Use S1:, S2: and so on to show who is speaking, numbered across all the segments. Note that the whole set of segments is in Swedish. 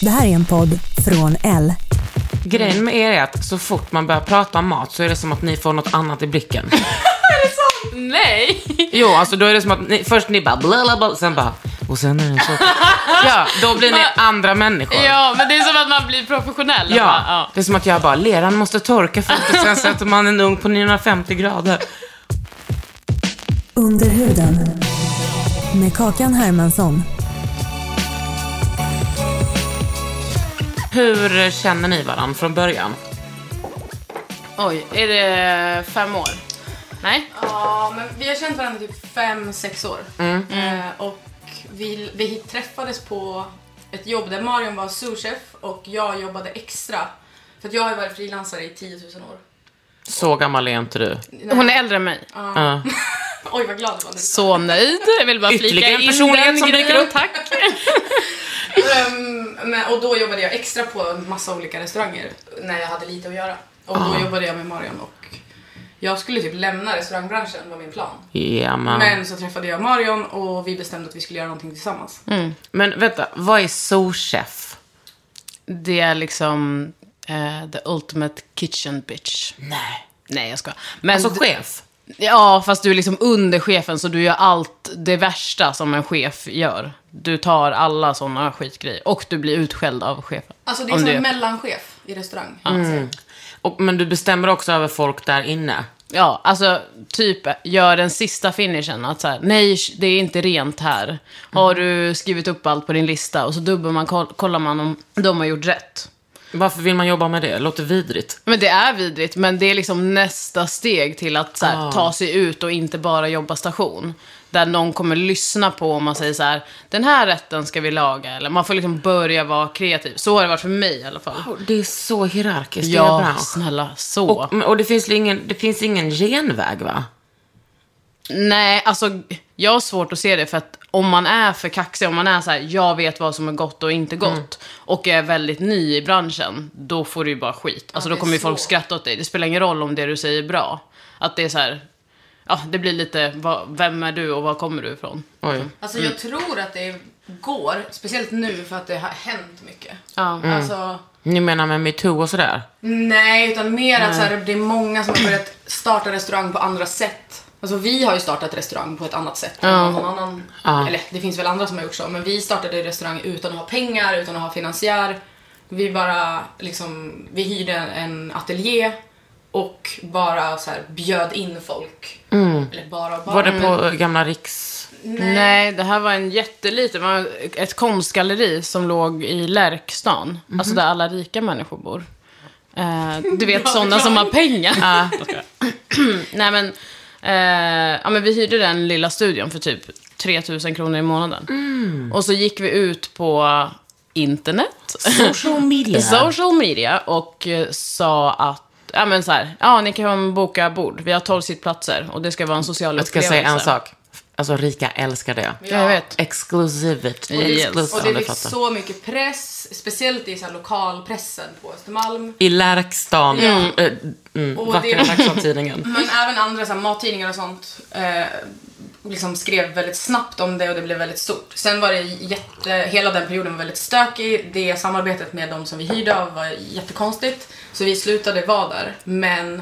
S1: Det här är en podd från L.
S2: Grejen med er är att så fort man börjar prata om mat så är det som att ni får något annat i blicken.
S3: Nej!
S2: Jo, alltså då är det som att ni, först ni bara bla bla bla, sen bara och sen är det så. Ja, då blir ni andra människor.
S3: Ja, men det är som att man blir professionell. och
S2: Ja,
S3: bara, ja.
S2: det är som att jag bara, leran måste torka först och sen sätter man en ugn på 950 grader.
S1: Under huden. Med Kakan Hermansson.
S2: Hur känner ni varandra från början?
S3: Oj, är det fem år? Nej?
S4: Ja, men vi har känt varandra typ fem, sex år.
S3: Mm.
S4: Eh, och vi, vi träffades på ett jobb där Marion var souschef och jag jobbade extra. För att jag har ju varit frilansare i 10 000 år.
S2: Så gammal är inte du.
S3: Hon är äldre än mig.
S2: Ja.
S4: Oj, vad glad jag var nu.
S3: Så nöjd. Jag vill bara flika
S2: Ytterligare en
S3: in
S2: personlighet
S3: den
S2: som dyker
S3: grejen.
S2: upp.
S3: Tack.
S4: Ehm, men, och då jobbade jag extra på en massa olika restauranger när jag hade lite att göra. Och
S3: Ah.
S4: då jobbade jag med Marion och jag skulle typ lämna restaurangbranschen var min plan.
S2: Ja,
S3: Ah.
S2: man. Men.
S4: Men så träffade jag Marion och vi bestämde att vi skulle göra någonting tillsammans.
S3: Mm.
S2: men vänta, vad är souschef?
S3: Det är liksom eh, the ultimate kitchen bitch.
S2: Nej.
S3: Nej, jag ska. Men
S2: Alltså chef?
S3: Ja, fast du är liksom under chefen, så du gör allt det värsta som en chef gör. Du tar alla sådana skitgrejer. Och du blir utskälld av chefen.
S4: Alltså det är
S3: Om Ah. Mm.
S4: som
S3: du-
S4: en mellanchef i restaurang.
S2: Och, men du bestämmer också över folk där inne?
S3: Ja, alltså typ gör den sista finishen. Att så här, nej, sh- det är inte rent här. Har du skrivit upp allt på din lista? Och så dubbel man, koll- kollar man om de har gjort rätt.
S2: Varför vill man jobba med det? Låter vidrigt.
S3: Men det är vidrigt, men det är liksom nästa steg till att så här, ta sig ut och inte bara jobba station. Där någon kommer lyssna på om man säger så här, den här rätten ska vi laga. Eller man får liksom börja vara kreativ. Så har det varit för mig i alla fall.
S2: Det är så hierarkiskt i er
S3: Ja,
S2: bransch.
S3: snälla, så.
S2: Och, men- och det, finns ingen, det finns ingen genväg, va?
S3: Nej, alltså jag har svårt att se det för att om man är för kaxig, om man är så här, jag vet vad som är gott och inte
S4: Mm.
S3: gott och är väldigt ny i branschen, då får du ju bara skit. Alltså
S4: Ja,
S3: då
S4: det är
S3: kommer ju folk
S4: så.
S3: skratta åt dig. Det spelar ingen roll om det du säger är bra. Att det är så här, ja det blir lite, vad, vem är du och var kommer du ifrån?
S2: Oj.
S4: Alltså jag tror att det går, speciellt nu för att det har hänt mycket.
S3: Ja.
S4: Alltså,
S2: Ni menar med metoo och sådär?
S4: nej, utan mer att så här, det är många som har börjat starta restaurang på andra sätt. Alltså vi har ju startat restaurang på ett annat sätt än någon annan.
S2: Ja.
S4: Eller det finns väl andra som har gjort så, men vi startade restaurang utan att ha pengar, utan att ha finansiär. Vi bara liksom, vi hyrde en ateljé och bara så här, bjöd in folk. Eller bara, bara.
S2: Mm. Var det på gamla Riks...
S3: Nej. det här var en jätteliten, det var ett konstgalleri som låg i Lärkstan.
S2: Mhm.
S3: Alltså där alla rika människor bor. Eh, du vet sådana som har pengar. Nej men, eh, ja, men vi hyrde den lilla studion för typ 3000 kronor i månaden.
S2: Mm.
S3: Och så gick vi ut på internet.
S2: Social media.
S3: Social media och eh, sa att Ja men så här, ja ni kan boka bord, vi har 12 sittplatser och det ska vara en social
S2: Jag ska
S3: upplevelse.
S2: säga en sak. Alltså rika älskar det.
S3: Ja, jag vet.
S2: Exclusivt.
S3: det-
S2: Exclus-
S4: Och
S2: ja,
S4: det
S2: det
S4: fick
S2: fattar.
S4: så mycket press, speciellt i så här lokalpressen på Östermalm.
S2: I Lärkstan. Mm. Mm.
S4: Och
S2: Vackra
S4: det-
S2: Lärkstan-tidningen.
S4: Men även andra så här, mattidningar och sånt eh, liksom skrev väldigt snabbt om det och det blev väldigt stort. Sen var det jätte, hela den perioden var väldigt stökig. Det samarbetet med de som vi hyrde av var jättekonstigt. Så vi slutade vara där. Men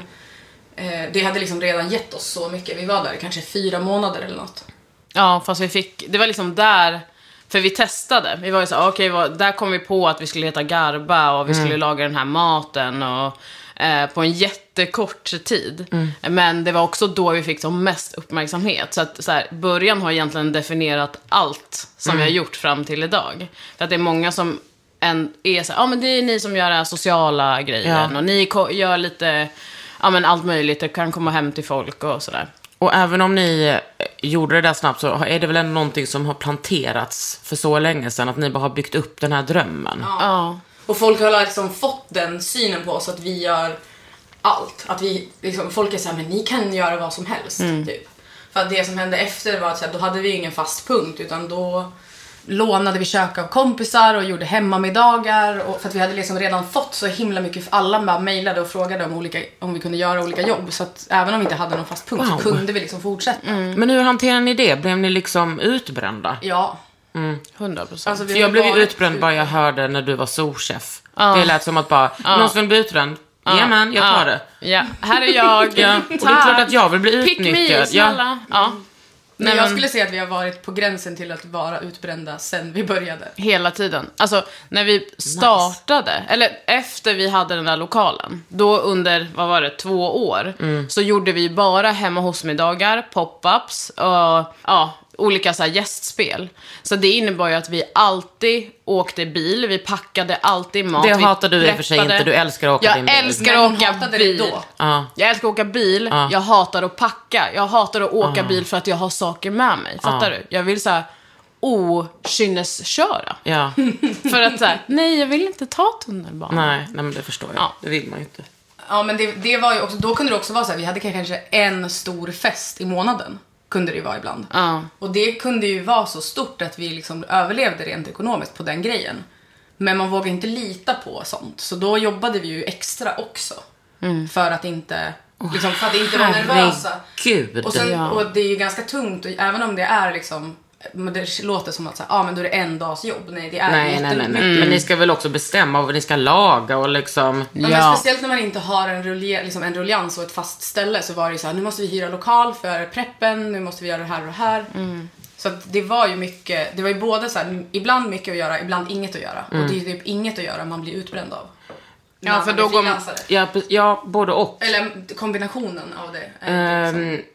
S4: eh, det hade liksom redan gett oss så mycket. Vi var där i kanske fyra månader eller något.
S3: Ja, fast vi fick, det var liksom där, För vi testade. Vi var ju så här, "Ah, okej, vad- där kom vi på att vi skulle heta Garba och vi skulle laga den här maten och eh, på en jättekort tid. Men det var också då vi fick som mest uppmärksamhet. Så att så här, början har egentligen definierat allt som vi har gjort fram till idag. För att det är många som en, är så här, ja men det är ni som gör den här sociala grejen
S2: Ja.
S3: och ni ko- gör lite, ja men allt möjligt, och kan komma hem till folk och sådär.
S2: Och även om ni eh, gjorde det där snabbt så har- är det väl ändå någonting som har planterats för så länge sedan. Att ni bara har byggt upp den här drömmen.
S3: Ja.
S4: Och folk har liksom fått den synen på oss att vi gör allt. Att vi, liksom, folk är såhär, men ni kan göra vad som helst.
S2: Mm.
S4: Typ. För att det som hände efter var att så här, då hade vi ingen fast punkt utan då lånade vi kök av kompisar och gjorde hemmamiddagar. Och, för att vi hade liksom redan fått så himla mycket, alla bara mejlade och frågade om, olika, om vi kunde göra olika jobb. Så att även om vi inte hade någon fast punkt
S2: Wow. Mm.
S4: så kunde vi liksom fortsätta.
S2: Men hur hanterar ni det? Blev ni liksom utbrända?
S4: Ja.
S3: 100 procent.
S4: Alltså, vi
S2: För jag
S4: har
S2: blev ju
S4: varit-
S2: utbränd bara jag hörde när du var souschef. Det lät som att bara, någon som vill bli utbränd? Jajamän, jag tar det.
S3: Ja, här är jag.
S2: Ja, och det är klart att jag vill bli
S3: Pick me,
S2: utnyttjad. Ja.
S3: snälla. Ja.
S4: Men
S3: Nej,
S4: jag
S3: men,
S4: skulle säga att vi har varit på gränsen till att vara utbrända sen vi började.
S3: Hela tiden. Alltså, när vi startade, eller efter vi hade den där lokalen, då under, vad var det, två år,
S2: Mm.
S3: så gjorde vi bara hemma hos-middagar, pop-ups och ja, olika så här gästspel. Så det innebar ju att vi alltid åkte bil, vi packade alltid mat.
S2: Det
S3: vi
S2: hatade du i och för sig
S3: preppade.
S2: inte, du älskar att åka
S3: jag
S2: din bil.
S3: älskar
S4: Men
S3: att åka
S4: hatade det
S3: bil.
S4: då?
S2: Ja.
S3: Jag älskar att åka bil,
S2: Ja.
S3: jag hatar att packa. Jag hatar att åka bil för att jag har saker med mig. Fattar
S2: Ja.
S3: du? Jag vill såhär okynnesköra.
S2: Ja,
S3: För att såhär, nej jag vill inte ta tunnelbanan.
S2: nej, nej men det förstår jag.
S3: Ja. Äh,
S2: Det vill man ju inte.
S4: Ja men det, det var ju också, då kunde det också vara så här, vi hade kanske en stor fest i månaden. Kunde det ju vara ibland.
S3: Ja.
S4: Och det kunde ju vara så stort att vi liksom överlevde rent ekonomiskt på den grejen. Men man vågar inte lita på sånt. Så då jobbade vi ju extra också.
S2: Mm.
S4: För att inte, liksom, för att inte vara nervösa.
S2: Gud.
S4: Och, sen,
S3: Ja.
S4: och det är ju ganska tungt, och även om det är liksom men det låter som att så här, ah, men då är det en dags jobb. Nej, det är
S2: Nej, nej,
S4: jättemycket.
S2: nej, Mm. nej.
S3: Mm.
S2: Men ni ska väl också bestämma vad ni ska laga och liksom...
S3: Ja.
S4: Ja. Men speciellt när man inte har en, rulle, liksom en ruljans och ett fast ställe så var det ju så här, nu måste vi hyra lokal för preppen, nu måste vi göra det här och det här. Så att det var ju mycket, det var ju både så här, ibland mycket att göra, ibland inget att göra. Och det är ju typ inget att göra man blir utbränd av. När
S3: för
S4: man
S3: då
S4: är
S3: går man-
S4: frilansare.
S2: Ja, pre- ja både och.
S4: Eller kombinationen av det. eh,
S2: Ehm.
S4: är inte liksom-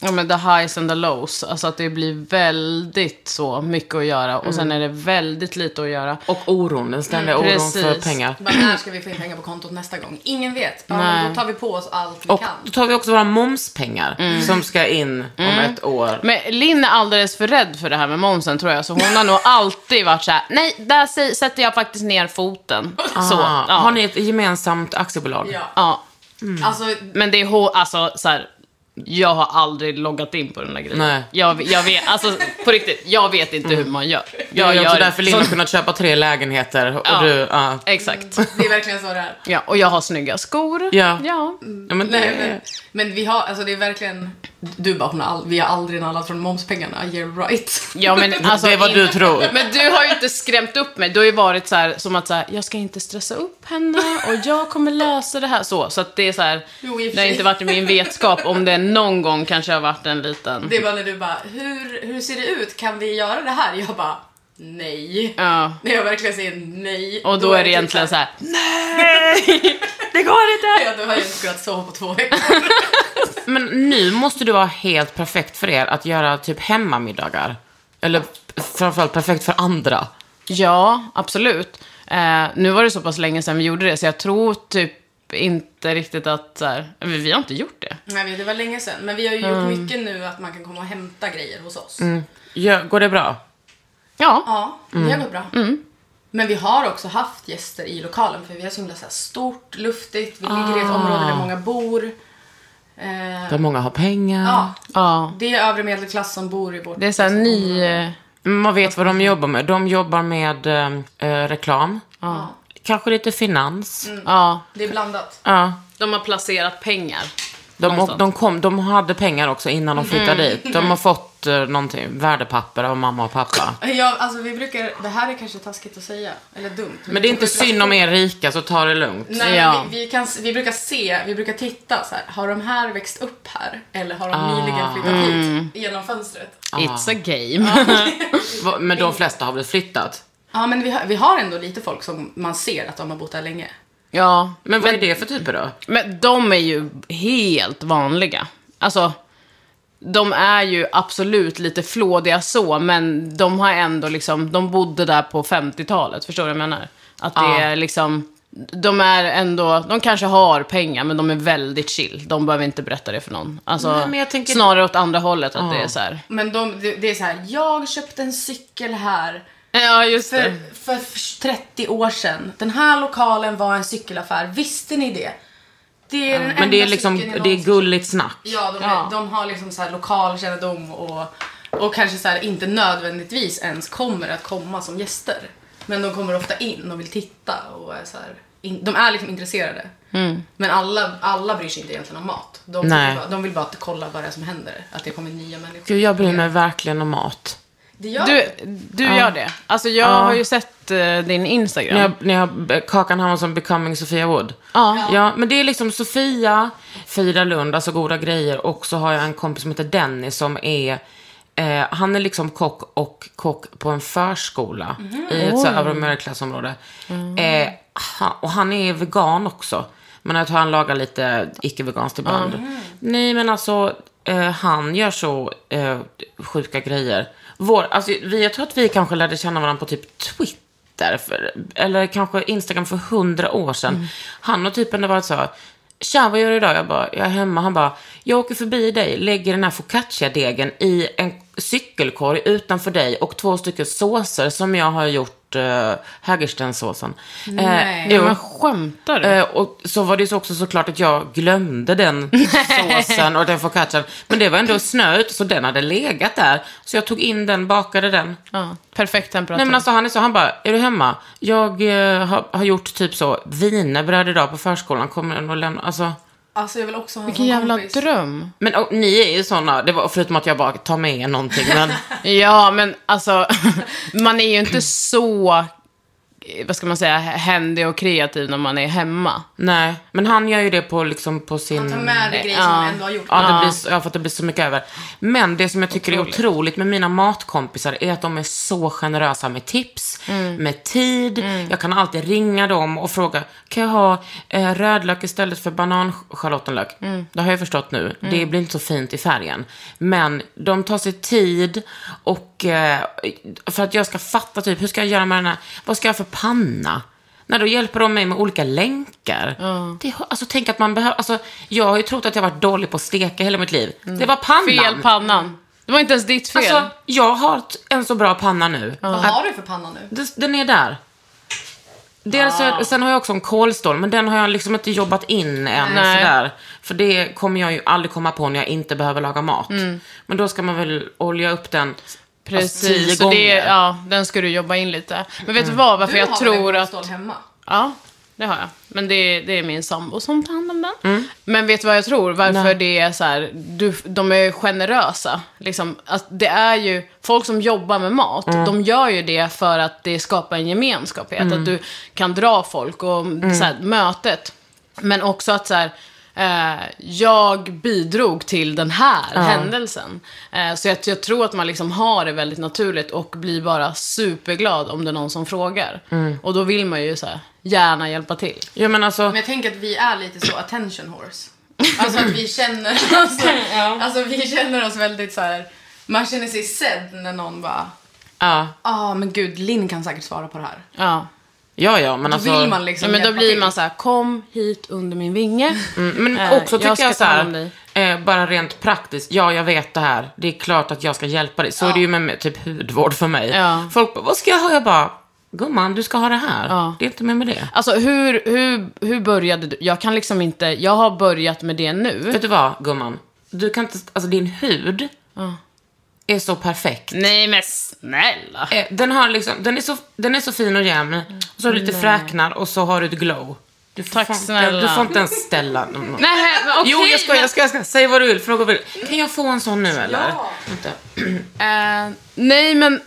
S3: Ja men the highs and the lows. Alltså att det blir väldigt så mycket att göra och sen är det väldigt lite att göra.
S2: Och oron, den ständiga oron för
S3: precis.
S2: pengar.
S4: Bara, när ska vi få in pengar på kontot nästa gång? Ingen vet. Ja,
S3: Nej.
S4: men då tar vi på oss allt vi
S2: Och
S4: kan.
S2: då tar vi också våra momspengar
S3: Mm.
S2: som ska in om ett år.
S3: Men Linn är alldeles för rädd för det här med momsen tror jag, så hon har nog alltid varit så här: nej, där sä- sätter jag faktiskt ner foten. Så,
S2: Ah,
S3: ja.
S2: Har ni ett gemensamt aktiebolag?
S4: Ja.
S3: ja.
S4: Alltså,
S3: Men det är hår, alltså så här, jag har aldrig loggat in på den där grejen.
S2: Nej. Mm.
S3: Jag, jag vet, alltså på riktigt, jag vet inte hur man gör.
S2: Jag det är också
S3: gör
S2: därför Linn har
S3: sån-
S2: kunnat köpa tre lägenheter och
S3: Ja.
S2: du, ja.
S3: Exakt.
S4: det är verkligen så det är.
S3: Ja, och jag har snygga skor.
S2: Ja.
S3: ja.
S2: ja men,
S4: Nej, men, men vi har, alltså det är verkligen, du bara hon har all, vi har aldrig nallat från momspengarna, you're right.
S3: Ja, men alltså,
S2: det är vad du
S3: in-
S2: tror.
S3: Men du har ju inte skrämt upp mig. Du har ju varit så här, som att så här, jag ska inte stressa upp henne och jag kommer lösa det här. Så, så att det är så här,
S4: Jo, i och för
S3: det har
S4: sig.
S3: inte varit i min vetskap om det någon gång kanske har varit en liten...
S4: Det är bara när du bara, hur, hur ser det ut, kan vi göra det här? Jag bara, nej.
S3: Ja.
S4: När jag verkligen säger nej.
S3: Och då, är
S4: typ
S3: det egentligen så här, nej, det går inte.
S4: Ja, du har jag inte kunnat sova på två veckor.
S2: men nu måste det vara helt perfekt för er att göra typ hemmamiddagar. Eller framförallt perfekt för andra.
S3: Ja, absolut. Eh, nu var det så pass länge sedan vi gjorde det, så jag tror typ inte riktigt att... Så här, vi, vi har inte gjort det.
S4: Nej, det var länge sedan. Men vi har ju gjort
S3: Mm.
S4: mycket nu att man kan komma och hämta grejer hos oss.
S2: Ja, går det bra?
S3: Ja.
S4: Ja, det
S3: Mm.
S4: har gått bra. Men vi har också haft gäster i lokalen för vi har så himla så här stort, luftigt, vi ligger i
S3: Ah.
S4: ett område där många bor. Eh,
S2: Där många har pengar.
S4: ja,
S3: ja.
S4: det är övre medelklass som bor i vårt
S3: Det är så här ny... eh,
S2: Man vet vad de jobbar med. De jobbar med eh, eh, reklam. Kanske lite finans.
S3: Ja.
S4: Det är blandat.
S2: Ja.
S3: De har placerat pengar.
S2: De, och
S3: Någonstans.
S2: de, kom, de hade pengar också innan de flyttade dit. De har fått syster någonting, värdepapper av mamma och pappa.
S4: Ja, alltså vi brukar, det här är kanske taskigt att säga, eller dumt.
S2: Men det är inte synd om er rika, så ta det lugnt.
S4: Nej, men
S3: Ja.
S4: vi, vi, kan, vi brukar se, vi brukar titta så här, har de här växt upp här? Eller har de
S2: Ah. mm.
S4: nyligen flyttat hit genom fönstret?
S3: It's a game.
S2: Va- Men de flesta har väl flyttat?
S4: Ja, men vi har, vi har ändå lite folk som man ser att de har bott här länge.
S3: ja,
S2: Men vad är det för typer då?
S3: Men de är ju helt vanliga. Alltså, de är ju absolut lite flådiga så, men de har ändå liksom, de bodde där på 50-talet, förstår du vad jag menar? Att det
S2: Ja.
S3: är liksom, de är ändå, de kanske har pengar, men de är väldigt chill. De behöver inte berätta det för någon. Alltså,
S2: Nej, men jag tänker-
S3: snarare åt andra hållet, att
S2: Ja.
S3: det är så här.
S4: Men de, det, det är så här, jag köpte en cykel här
S3: Ja, just det.
S2: Mm.
S4: för, för, för 30 år sedan. Den här lokalen var en cykelaffär, visste ni det? Det är den
S2: Men det är
S4: enda
S2: liksom,
S4: cykeln jag
S2: det är
S4: någonsin-
S2: gulligt snack.
S4: Ja, de, är,
S3: Ja.
S4: de har liksom så här lokal kännedom och, och kanske så här inte nödvändigtvis ens kommer att komma som gäster. Men de kommer ofta in och vill titta och är så här, in, de är liksom intresserade. Men alla, alla bryr sig inte egentligen om mat. De vill,
S2: Mm. Nej.
S4: bara, de vill bara att kolla vad det är som händer, att det kommer nya människor.
S2: Gud, jag bryr mig verkligen om mat.
S4: Det gör
S3: Du, du gör det. Alltså, jag har ju sett eh, din Instagram.
S2: När jag, när jag eh, Kakan Hermansson Becoming Sofia Wood.
S3: Ja.
S2: ja. Men det är liksom Sofia, Frida Lund, alltså goda grejer. Och så har jag en kompis som heter Dennis som är, eh, han är liksom kock och kock på en förskola i ett så här övre medelklassområde. Eh, han, och han är vegan också. Men jag tror han lagar lite icke-veganskt ibland. Nej men alltså, eh, han gör så eh, sjuka grejer. Vår, alltså, vi, jag tror att vi kanske lärde känna varandra på typ Twitter därför, eller kanske Instagram för hundra år sedan. Han och typen det var så, tja vad gör du idag? Jag bara, jag är hemma. Han bara, jag åker förbi dig, lägger den här focaccia-degen i en cykelkorg utanför dig och två stycken såser som jag har gjort eh, Hägerstensåsen. Eh,
S4: Nej.
S2: jo.
S3: Men skämtar du?
S2: Eh, och så var det ju så också såklart att jag glömde den såsen och den focaccian. Men det var ändå snö ute, så den hade legat där. Så jag tog in den, bakade den.
S3: Ja, perfekt temperatur.
S2: Nej men alltså han är så, han bara, är du hemma? Jag eh, har, har gjort typ så wienerbröd idag på förskolan, kommer den att lämna? Alltså,
S4: Alltså jag vill också ha en
S3: Vilken
S4: sån
S3: jävla
S4: kompis.
S3: dröm.
S2: men och, ni är ju sådana, det var, förutom att jag bara tar med er någonting. Men,
S3: Ja, men alltså, man är ju inte så, eh, vad ska man säga, händig och kreativ när man är hemma.
S2: nej, men han gör ju det på, liksom, på sin...
S4: Ta med dig grejer som man ändå har gjort.
S2: Ja, det blir, så- ja, för att det blir så mycket över. Men det som jag tycker
S3: Otroligt.
S2: är otroligt med mina matkompisar är att de är så generösa med tips, med tid. Jag kan alltid ringa dem och fråga, kan jag ha eh, rödlök istället för bananschalottenlök? Det har jag förstått nu, det blir inte så fint i färgen. Men de tar sig tid och eh, för att jag ska fatta typ, hur ska jag göra med den här, vad ska jag ha för panna? När då hjälper de mig med olika länkar. Det, alltså tänk att man behöver, alltså jag har ju trott att jag varit dålig på att steka hela mitt liv. Det var pannan.
S3: Mm. Fel pannan. Det var inte ens ditt fel.
S2: Alltså, jag har t- en så bra panna nu.
S4: Vad har du för panna nu?
S2: Det- Den är där.
S3: Ah.
S2: Dels, är- Sen har jag också en kolstål, men den har jag liksom inte jobbat in än.
S3: Nej.
S2: Sådär. För det kommer jag ju aldrig komma på när jag inte behöver laga mat.
S3: Mm.
S2: Men då ska man väl olja upp den alltså, tio
S3: Precis, så
S2: gånger.
S3: det, ja, den ska du jobba in lite. Men vet du vad, varför
S4: Du
S3: jag
S4: har
S3: tror
S4: väl en
S3: att...
S4: stål hemma?
S3: Ja, det har jag. Men det, det är min sambo som tar hand om den. Men vet du vad jag tror? Varför det är så här, du, de är generösa. Liksom, att det är ju, folk som jobbar med mat, de gör ju det för att det skapar en gemenskap. i att- Att du kan dra folk och så här, mötet. Men också att så här, eh, jag bidrog till den här händelsen. Eh, så jag, jag tror att man liksom har det väldigt naturligt och blir bara superglad om det är någon som frågar. Och då vill man ju så här, gärna hjälpa till.
S2: Ja, men alltså,
S4: Men jag tänker att vi är lite så attention horse. Alltså att vi känner, alltså, alltså vi känner oss väldigt så här. man känner sig sedd när någon bara,
S2: ja.
S4: ah men gud Linn kan säkert svara på det här.
S3: Ja.
S2: ja, ja, men
S4: Då
S2: alltså.
S4: vill man liksom
S3: ja men då
S4: hjälpa
S3: blir
S4: till.
S3: man så här, kom hit under min vinge.
S2: Mm, Men
S3: Eh,
S2: också tycker jag,
S3: ska
S2: så
S3: ta hand om
S2: här,
S3: dig.
S2: eh, bara rent praktiskt, ja jag vet det här, det är klart att jag ska hjälpa dig. Så är det ju med, med typ hudvård för mig.
S3: Ja.
S2: Folk bara, vad ska jag ha? Jag bara, gumman du ska ha det här.
S3: Ja.
S2: Det är inte mer med det.
S3: Alltså hur, hur, hur började du? Jag kan liksom inte, jag har börjat med det nu.
S2: Vet du vad gumman? Du kan inte, alltså din hud är så perfekt.
S3: Nej men snälla.
S2: Eh, Den, har liksom, den, är så, den är så fin och jämn, och så har du lite fräknar och så har du ett glow. Du får,
S3: Tack
S2: fan-
S3: snälla.
S2: Du får inte ens ställa.
S3: Nej, men okej.
S2: jo, jag ska, jag ska, jag ska. Säg vad du vill, för något vill. Kan jag få en sån nu eller?
S4: Ja.
S2: Vänta.
S3: Eh, nej, men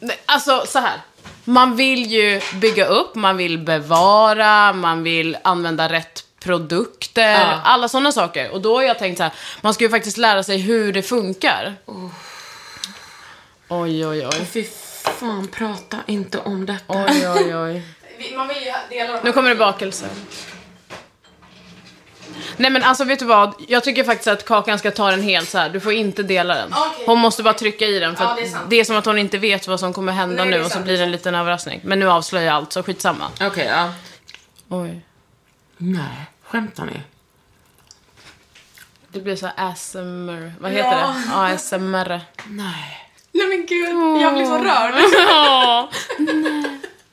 S3: nej, alltså så här. Man vill ju bygga upp, man vill bevara, man vill använda rätt produkter, alla sådana saker. Och då har jag tänkt så här, man ska ju faktiskt lära sig hur det funkar. Oj, oj, oj.
S2: Fy fan, prata inte om detta.
S3: Oj, oj, oj.
S4: Vi- Man vill ju dela dem.
S3: Nu kommer det bakelse. Nej men alltså vet du vad? Jag tycker faktiskt att kakan ska ta den helt så här. du får inte dela den.
S4: Okej.
S3: Hon måste bara trycka i den för
S4: Ja,
S3: att
S4: det är sant.
S3: det är som att hon inte vet vad som kommer hända
S4: Nej, det är
S3: nu och så
S4: sant.
S3: blir det en liten överraskning. Men nu avslöjar jag allt så skitsamma.
S2: Okej, ja.
S3: Oj.
S2: Nej, skämtar ni?
S3: Det blir så här ASMR, vad heter det? ASMR.
S2: Nej.
S4: Nej men gud, jag blir så rörd.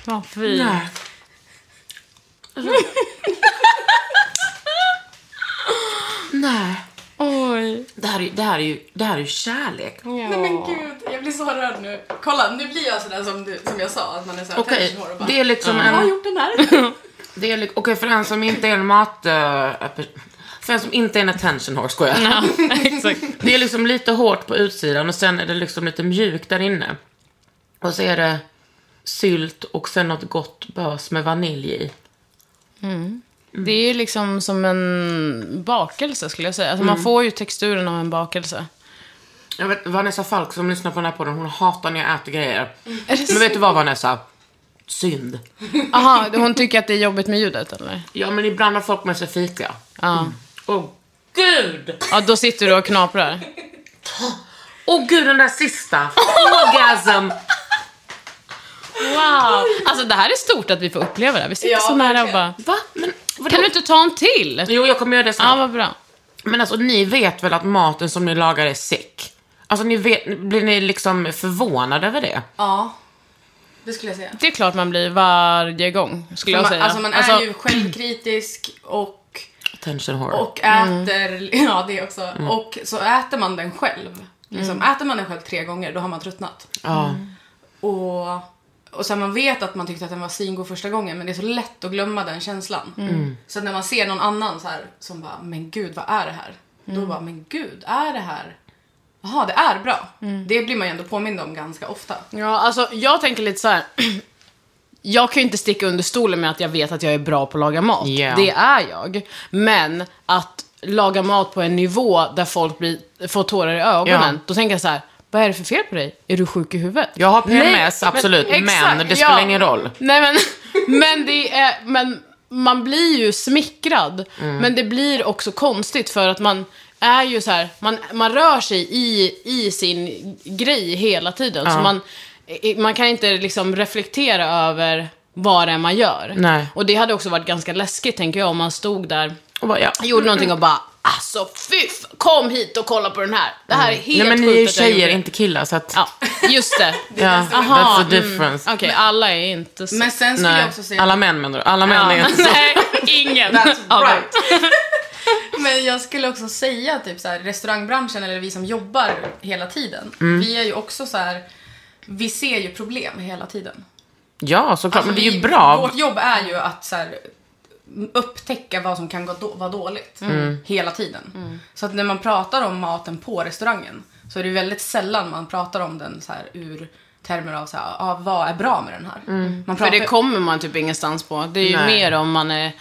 S3: Ja. Vad fint.
S2: Nej. Nej.
S3: Oj.
S2: Det här, är, ju- det, här är ju, det här är ju kärlek.
S4: Nej men gud, jag blir så rörd nu. Kolla, nu blir jag sådär som, du, som jag sa, att man är såhär
S2: Okej,
S4: attention whore och bara,
S2: det är liksom
S4: Jag har
S2: en...
S4: gjort den här.
S2: Det är li- Okej, för den som inte är en mat... eh, per- för den som inte är en attention horse, skojar jag.
S3: Ja, exakt.
S2: Det är liksom lite hårt på utsidan och sen är det liksom lite mjukt där inne. Och så är det sylt och sen något gott bös med vanilj i.
S3: Det är ju liksom som en bakelse skulle jag säga. Alltså, Man får ju texturen av en bakelse.
S2: Jag vet, Vanessa Falk som lyssnar på den här podden, hon hatar när jag äter grejer.
S3: Mm. Är det
S2: Men vet du vad Vanessa? Synd.
S3: Aha, hon tycker att det är jobbigt med ljudet eller?
S2: Ja, men ibland har folk med sig fika.
S3: Ja.
S2: Åh gud!
S3: Ja, då sitter du och knaprar.
S2: Åh gud, den där sista! Orgasm!
S3: Wow! Alltså det här är stort att vi får uppleva det här. Vi sitter
S4: Ja,
S3: så nära och
S4: verkligen.
S3: bara...
S2: Va? Men, vadå?
S3: Kan du inte ta en till?
S2: Jo, jag kommer göra det
S3: Ja,
S2: snart.
S3: vad bra.
S2: Men alltså, ni vet väl att maten som ni lagar är sick? Alltså, ni vet, blir ni liksom förvånade över det?
S4: ja, det skulle jag säga.
S3: Det är klart man blir varje gång, skulle jag
S4: Man,
S3: säga.
S4: alltså man är ju självkritisk och,
S2: Attention whore.
S4: och äter,
S3: Mm.
S4: ja det också, och så äter man den själv. Liksom,
S3: Mm.
S4: Äter man den själv tre gånger då har man tröttnat.
S2: ja.
S4: Och, och sen man vet att man tyckte att den var svingod första gången men det är så lätt att glömma den känslan.
S3: Mm.
S4: Så att när man ser någon annan så här som bara, men gud vad är det här? Då
S3: Mm.
S4: bara, men gud, är det här? Jaha, det är bra.
S3: Mm.
S4: Det blir man ju ändå påmind om ganska ofta.
S3: Ja, alltså jag tänker lite så här. Jag kan ju inte sticka under stolen med att jag vet att jag är bra på att laga mat.
S2: Ja.
S3: Det är jag. Men att laga mat på en nivå där folk blir, får tårar i ögonen,
S2: Ja.
S3: då tänker jag så här. Vad är det för fel på dig? Är du sjuk i huvudet?
S2: Jag har PMS, absolut, men det spelar ingen roll.
S3: Nej, men, men det är, men man blir ju smickrad.
S2: Mm.
S3: Men det blir också konstigt för att man är ju så här, man, man rör sig i, i sin grej hela tiden. Så man, i- man kan inte liksom reflektera över vad det är man gör.
S2: Nej.
S3: Och det hade också varit ganska läskigt, tänker jag, om man stod där
S2: Och bara, ja.
S3: jag gjorde någonting och bara Alltså fy, f- kom hit och kolla på den här. Det här är helt
S2: Mm. Nej men ni
S3: sjukt
S2: är ju
S3: att jag
S2: tjejer,
S3: gjorde."
S2: inte killar så att...
S3: Ja, just det.
S2: Ja, that's the difference.
S3: Mm. Okej, alla är inte så...
S4: Men sen skulle jag
S2: Nej.
S4: också säga...
S2: Alla män menar du? Alla män
S3: ja.
S2: är inte så.
S3: Nej, ingen.
S4: That's
S3: av dem.
S4: right. Men jag skulle också säga typ så här, restaurangbranschen eller vi som jobbar hela tiden.
S2: Mm.
S4: Vi är ju också så här, vi ser ju problem hela tiden. Alltså,
S2: Ja, såklart.
S3: Alltså,
S2: men det är
S4: vi-
S2: ju bra.
S4: Vårt jobb är ju att så här, upptäcka vad som kan gå då, vara dåligt
S2: Mm.
S4: hela tiden. Så att när man pratar om maten på restaurangen så är det ju väldigt sällan man pratar om den så här ur termer av så här, ah, vad är bra med den här.
S2: Mm.
S4: Man
S3: För
S4: pratar,
S3: det kommer man typ ingenstans på. Det är ju
S2: Nej.
S3: mer om man är...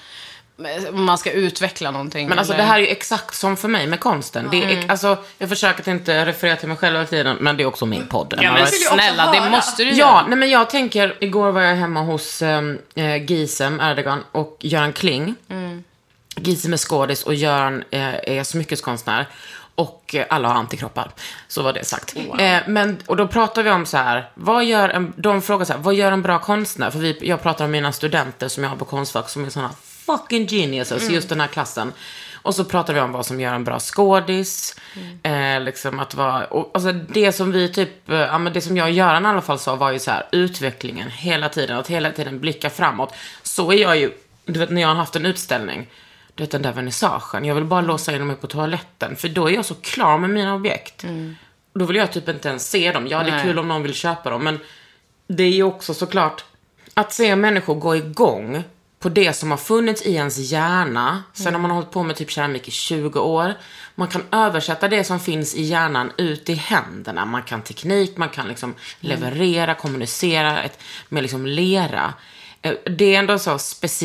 S3: Om man ska utveckla någonting.
S2: Men alltså
S3: eller- Mm.
S2: det här är ju exakt som för mig med konsten. Det är, ex- alltså, jag försöker att inte referera till mig själv hela tiden, men det är också min podd.
S3: Ja,
S2: Man
S3: men
S2: vet-
S4: vill ju också
S3: snälla, det
S4: höra.
S3: måste du
S2: Ja, nej men jag tänker, igår var jag hemma hos ehm, eh, Gisem Erdogan och Göran Kling. Gisem är skådis och Göran eh, är smyckeskonstnär. Och eh, alla har antikroppar. Så var det sagt. Eh, men, och då pratar vi om så här, vad gör en, de frågar så här, vad gör en bra konstnär? För vi, jag pratar om mina studenter som jag har på Konstfack som är sådana fucking geniuses, just den här klassen. Och så pratar vi om vad som gör en bra skådis. Eh, liksom att vara, och, alltså det som vi typ, eh, ja, men det som jag och Göran i alla fall sa var ju så här, utvecklingen hela tiden, att hela tiden blicka framåt. Så är jag ju, du vet när jag har haft en utställning, du vet den där vernissagen, jag vill bara låsa in mig på toaletten, för då är jag så klar med mina objekt. Då vill jag typ inte ens se dem. Ja, det är
S3: Nej.
S2: kul om någon vill köpa dem, men det är ju också såklart att se människor gå igång på på det som har funnits i ens hjärna. Sen har man hållit på med typ keramik i 20 år. Man kan översätta det som finns i hjärnan ut i händerna. Man kan teknik, man kan liksom leverera, kommunicera ett, med liksom lera. Eh, Det är ändå så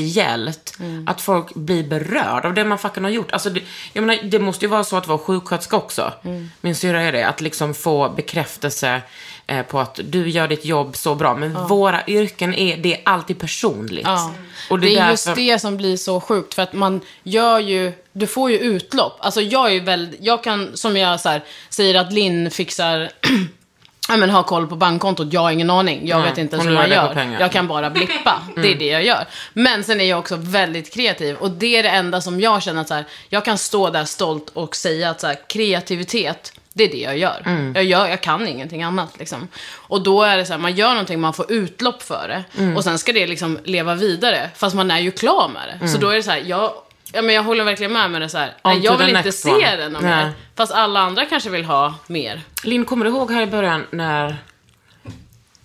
S2: speciellt att folk blir berörda av det man fucking har gjort. Alltså det, jag menar, det måste ju vara så att vara sjuksköterska också. Min syrra är det. Att liksom få bekräftelse eh, på att du gör ditt jobb så bra. Men våra yrken är, det är alltid personligt.
S3: Ja. det, är just det som blir så sjukt, för att man gör ju, du får ju utlopp. Alltså jag är ju väldigt, jag kan, som jag så här, säger att Linn fixar, ja men har koll på bankkontot, jag har ingen aning. Jag
S2: Nej,
S3: vet inte
S2: hon
S3: ens hur man
S2: lever på
S3: gör.
S2: pengar.
S3: Jag kan bara blippa,
S2: Mm.
S3: det är det jag gör. Men sen är jag också väldigt kreativ och det är det enda som jag känner att så här, jag kan stå där stolt och säga att så här, kreativitet, det är det jag gör.
S2: Mm.
S3: Jag, gör, jag kan ingenting annat. Liksom. Och då är det så här, man gör någonting, man får utlopp för det.
S2: Mm.
S3: Och sen ska det liksom leva vidare, fast man är ju klar med det. Så då är det så här, jag, ja, men jag håller verkligen med med det så här.
S2: Mm. On
S3: nej,
S2: to
S3: jag
S2: the
S3: vill inte
S2: next
S3: se
S2: one.
S3: den om
S2: Nej.
S3: mer. Fast alla andra kanske vill ha mer.
S2: Linn, kommer du ihåg här i början när...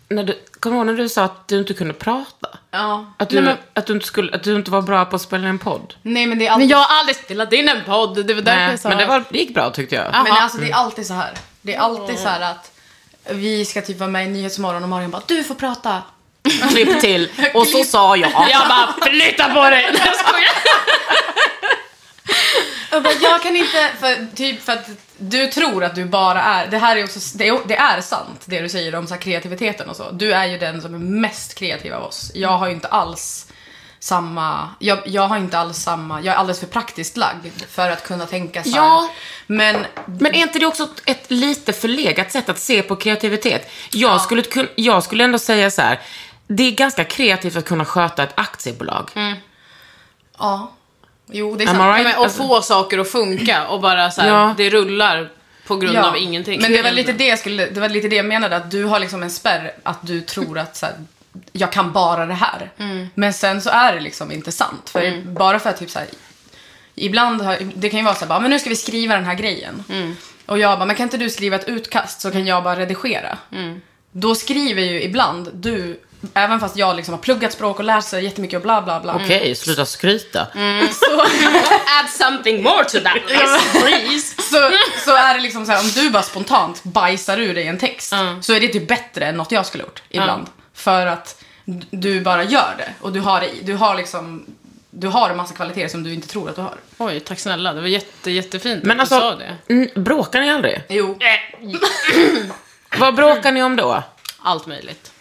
S2: när du, kommer du ihåg när du sa att du inte kunde prata?
S4: Ja.
S2: Att du, att du, inte, skulle, att du inte var bra på att spela en podd?
S4: Nej men det är alltid,
S3: Men jag har aldrig spelat in en podd, det var därför
S2: Nej,
S3: jag sa
S2: men det, var, det gick bra tyckte jag.
S3: Ah.
S4: men
S3: Aha.
S4: alltså, det är alltid så här. Det är
S2: Mm.
S4: alltid så här att vi ska typ vara med i Nyhetsmorgon och Marion bara du får prata.
S2: Klipp till. Och så sa jag.
S3: Jag bara, flytta på dig! Nej, jag skojar.
S4: Jag, bara, jag kan inte, för, typ för att du tror att du bara är, det här är också, det, är- det är sant det du säger om så här kreativiteten och så. Du är ju den som är mest kreativ av oss. Jag har ju inte alls samma, jag, jag har inte alls samma, jag är alldeles för praktiskt lagd för att kunna tänka så här.
S2: Ja.
S4: Men
S2: Men är inte det också ett- ett lite förlegat sätt att se på kreativitet? Jag, skulle, kun- jag skulle ändå säga så här. Det är ganska kreativt att kunna sköta ett aktiebolag.
S3: Mm.
S4: ja, jo det är
S2: Am I
S4: sant.
S2: right?
S3: Nej, men, och få saker att funka och bara så här,
S2: Ja.
S3: det rullar på grund
S4: Ja,
S3: av ingenting.
S4: Men det var lite det jag, skulle, det var lite det jag menade, att du har liksom en spärr att du tror att så här, jag kan bara det här.
S3: Mm.
S4: Men sen så är det liksom inte sant. För Bara för att typ så här, ibland har, det kan ju vara så här, bara, "Ah, men nu ska vi skriva den här grejen.
S3: Mm.
S4: Och jag bara, men kan inte du skriva ett utkast så kan jag bara redigera.
S3: Mm.
S4: Då skriver ju ibland du, även fast jag liksom har pluggat språk och lärt sig jättemycket och bla bla bla.
S2: Okej, sluta skryta.
S3: Mm, Add something more to that list, please.
S4: så, så är det liksom så här, om du bara spontant bajsar ur dig en text
S3: Ja.
S4: så är det typ bättre än något jag skulle gjort ibland. För att d- du bara gör det och du har, det i- du har liksom du har en massa kvaliteter som du inte tror att du har.
S3: Oj, tack snälla. Det var jätte, jättefint
S2: Men
S3: att du sa
S2: alltså,
S3: det.
S2: n- bråkar ni aldrig?
S4: Jo.
S2: Vad bråkar ni om då?
S3: Allt möjligt.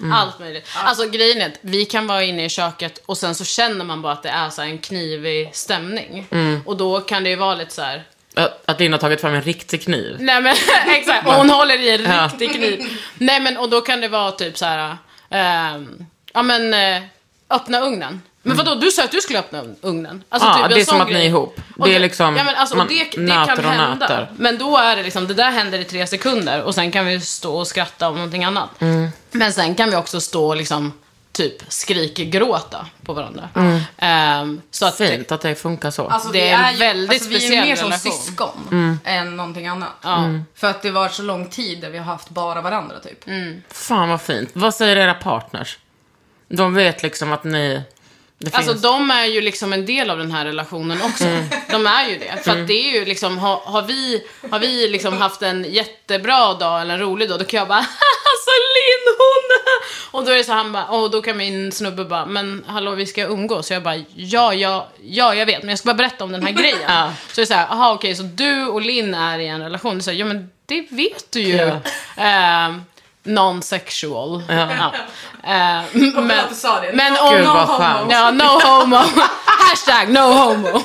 S4: Mm.
S3: Allt möjligt. Alltså grejen är att vi kan vara inne i köket och sen så känner man bara att det är så här en knivig stämning.
S4: Mm.
S3: Och då kan det ju vara lite så här.
S2: Ö, Att Linn har tagit fram en riktig kniv?
S3: Nej men exakt, och hon håller i en
S2: Ja.
S3: riktig kniv. Nej men och då kan det vara typ så här. ehm, ja men eh, öppna ugnen. Men vadå, du sa att du skulle öppna ugnen? Alltså,
S2: Mm. Ja,
S3: en
S2: det är
S3: sån
S2: som att
S3: grej.
S2: ni är ihop.
S3: Och
S2: Det är liksom-
S3: ja, men alltså,
S2: man
S3: och det, det
S2: nöter
S3: kan
S2: och
S3: hända.
S2: nöter.
S3: Men då är det liksom, det där händer i tre sekunder och sen kan vi stå och skratta om någonting annat.
S2: Mm.
S3: Men sen kan vi också stå och liksom typ skrikgråta på varandra. Ehm, så att det-
S2: Mm. Fint att det funkar så.
S4: Alltså,
S3: Det
S4: vi
S3: är en
S4: ju-
S3: väldigt
S4: alltså, vi är ju
S3: speciell
S4: mer som
S3: relation.
S4: syskon
S2: Mm.
S4: än någonting annat. För att det var så lång tid där vi har haft bara varandra typ.
S3: Mm.
S2: Fan vad fint. Vad säger era partners? De vet liksom att ni... Det
S3: Alltså
S2: finns. Mm.
S3: de är ju liksom en del av den här relationen också. De är ju det. För att det är ju liksom, har, har vi, har vi liksom haft en jättebra dag eller en rolig dag, då kan jag bara alltså Linn hon! Och då är det så han bara, och då kan min snubbe bara, men hallå vi ska umgås. Så jag bara, ja, ja, ja jag vet, men jag ska bara berätta om den här grejen. Så det är så här, aha okej, så du och Linn är i en relation. Så här, ja men det vet du ju. Ehm, Non-sexual. Ja. Ehm, men
S4: att du sa det.
S3: men om,
S2: Gud, vad
S3: homo.
S2: skönt.
S3: Ja, no homo. Hashtag no homo.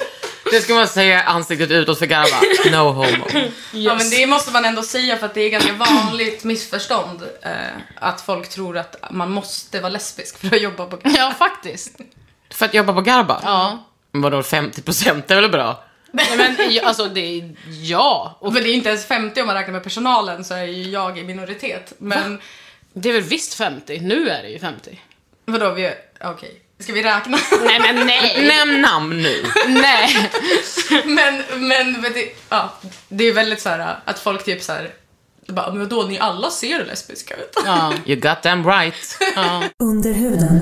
S2: Det ska man säga ansiktet utåt för garva. No homo.
S4: Ja men det måste man ändå säga för att det är ganska vanligt missförstånd eh, att folk tror att man måste vara lesbisk för att jobba på
S3: Ja, faktiskt.
S2: För att jobba på Garba?
S3: Ja.
S2: Vadå 50% är väl bra?
S3: Nej, men ja, alltså det är ja. Och
S4: Och men det är inte ens 50 om man räknar med personalen så är ju jag i minoritet. Men
S3: det är väl visst 50? Nu är det ju 50.
S4: vadå, vi... Okej. Ska vi räkna?
S3: Nej men nej.
S2: Nämn namn nu.
S3: nej.
S4: men, men, men det, ja, det är väldigt så här att folk typ så här... Bara, men då ni alla ser lesbiska ut.
S3: Ja.
S2: You got them right.
S1: Under huden.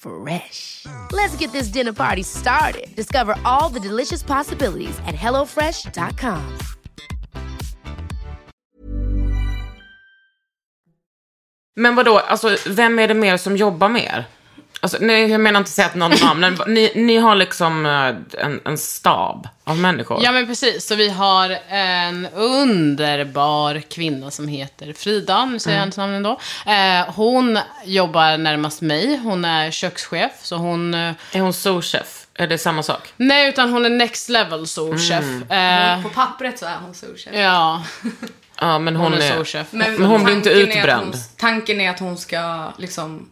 S5: Fresh. Let's get this dinner party started. Discover all the delicious possibilities at hellofresh.com.
S2: Men vadå, alltså vem är det mer som jobbar med er? Alltså, nej, jag menar inte säga att någon namn, men ni, ni har liksom eh, en, en stab av människor.
S3: Ja, men precis. Så vi har en underbar kvinna som heter Frida, nu säger jag hennes namn ändå. Eh, hon jobbar närmast mig, hon är kökschef, så hon... Eh,
S2: Är hon souschef? Är det samma sak?
S3: nej, utan hon är next level souschef. Eh,
S4: På pappret så är hon souschef.
S3: ja,
S2: Ja, men hon,
S3: hon är
S2: är...
S3: souschef.
S2: Men hon blir inte
S4: tanken är att
S2: utbränd.
S4: hon- Tanken är att hon ska liksom,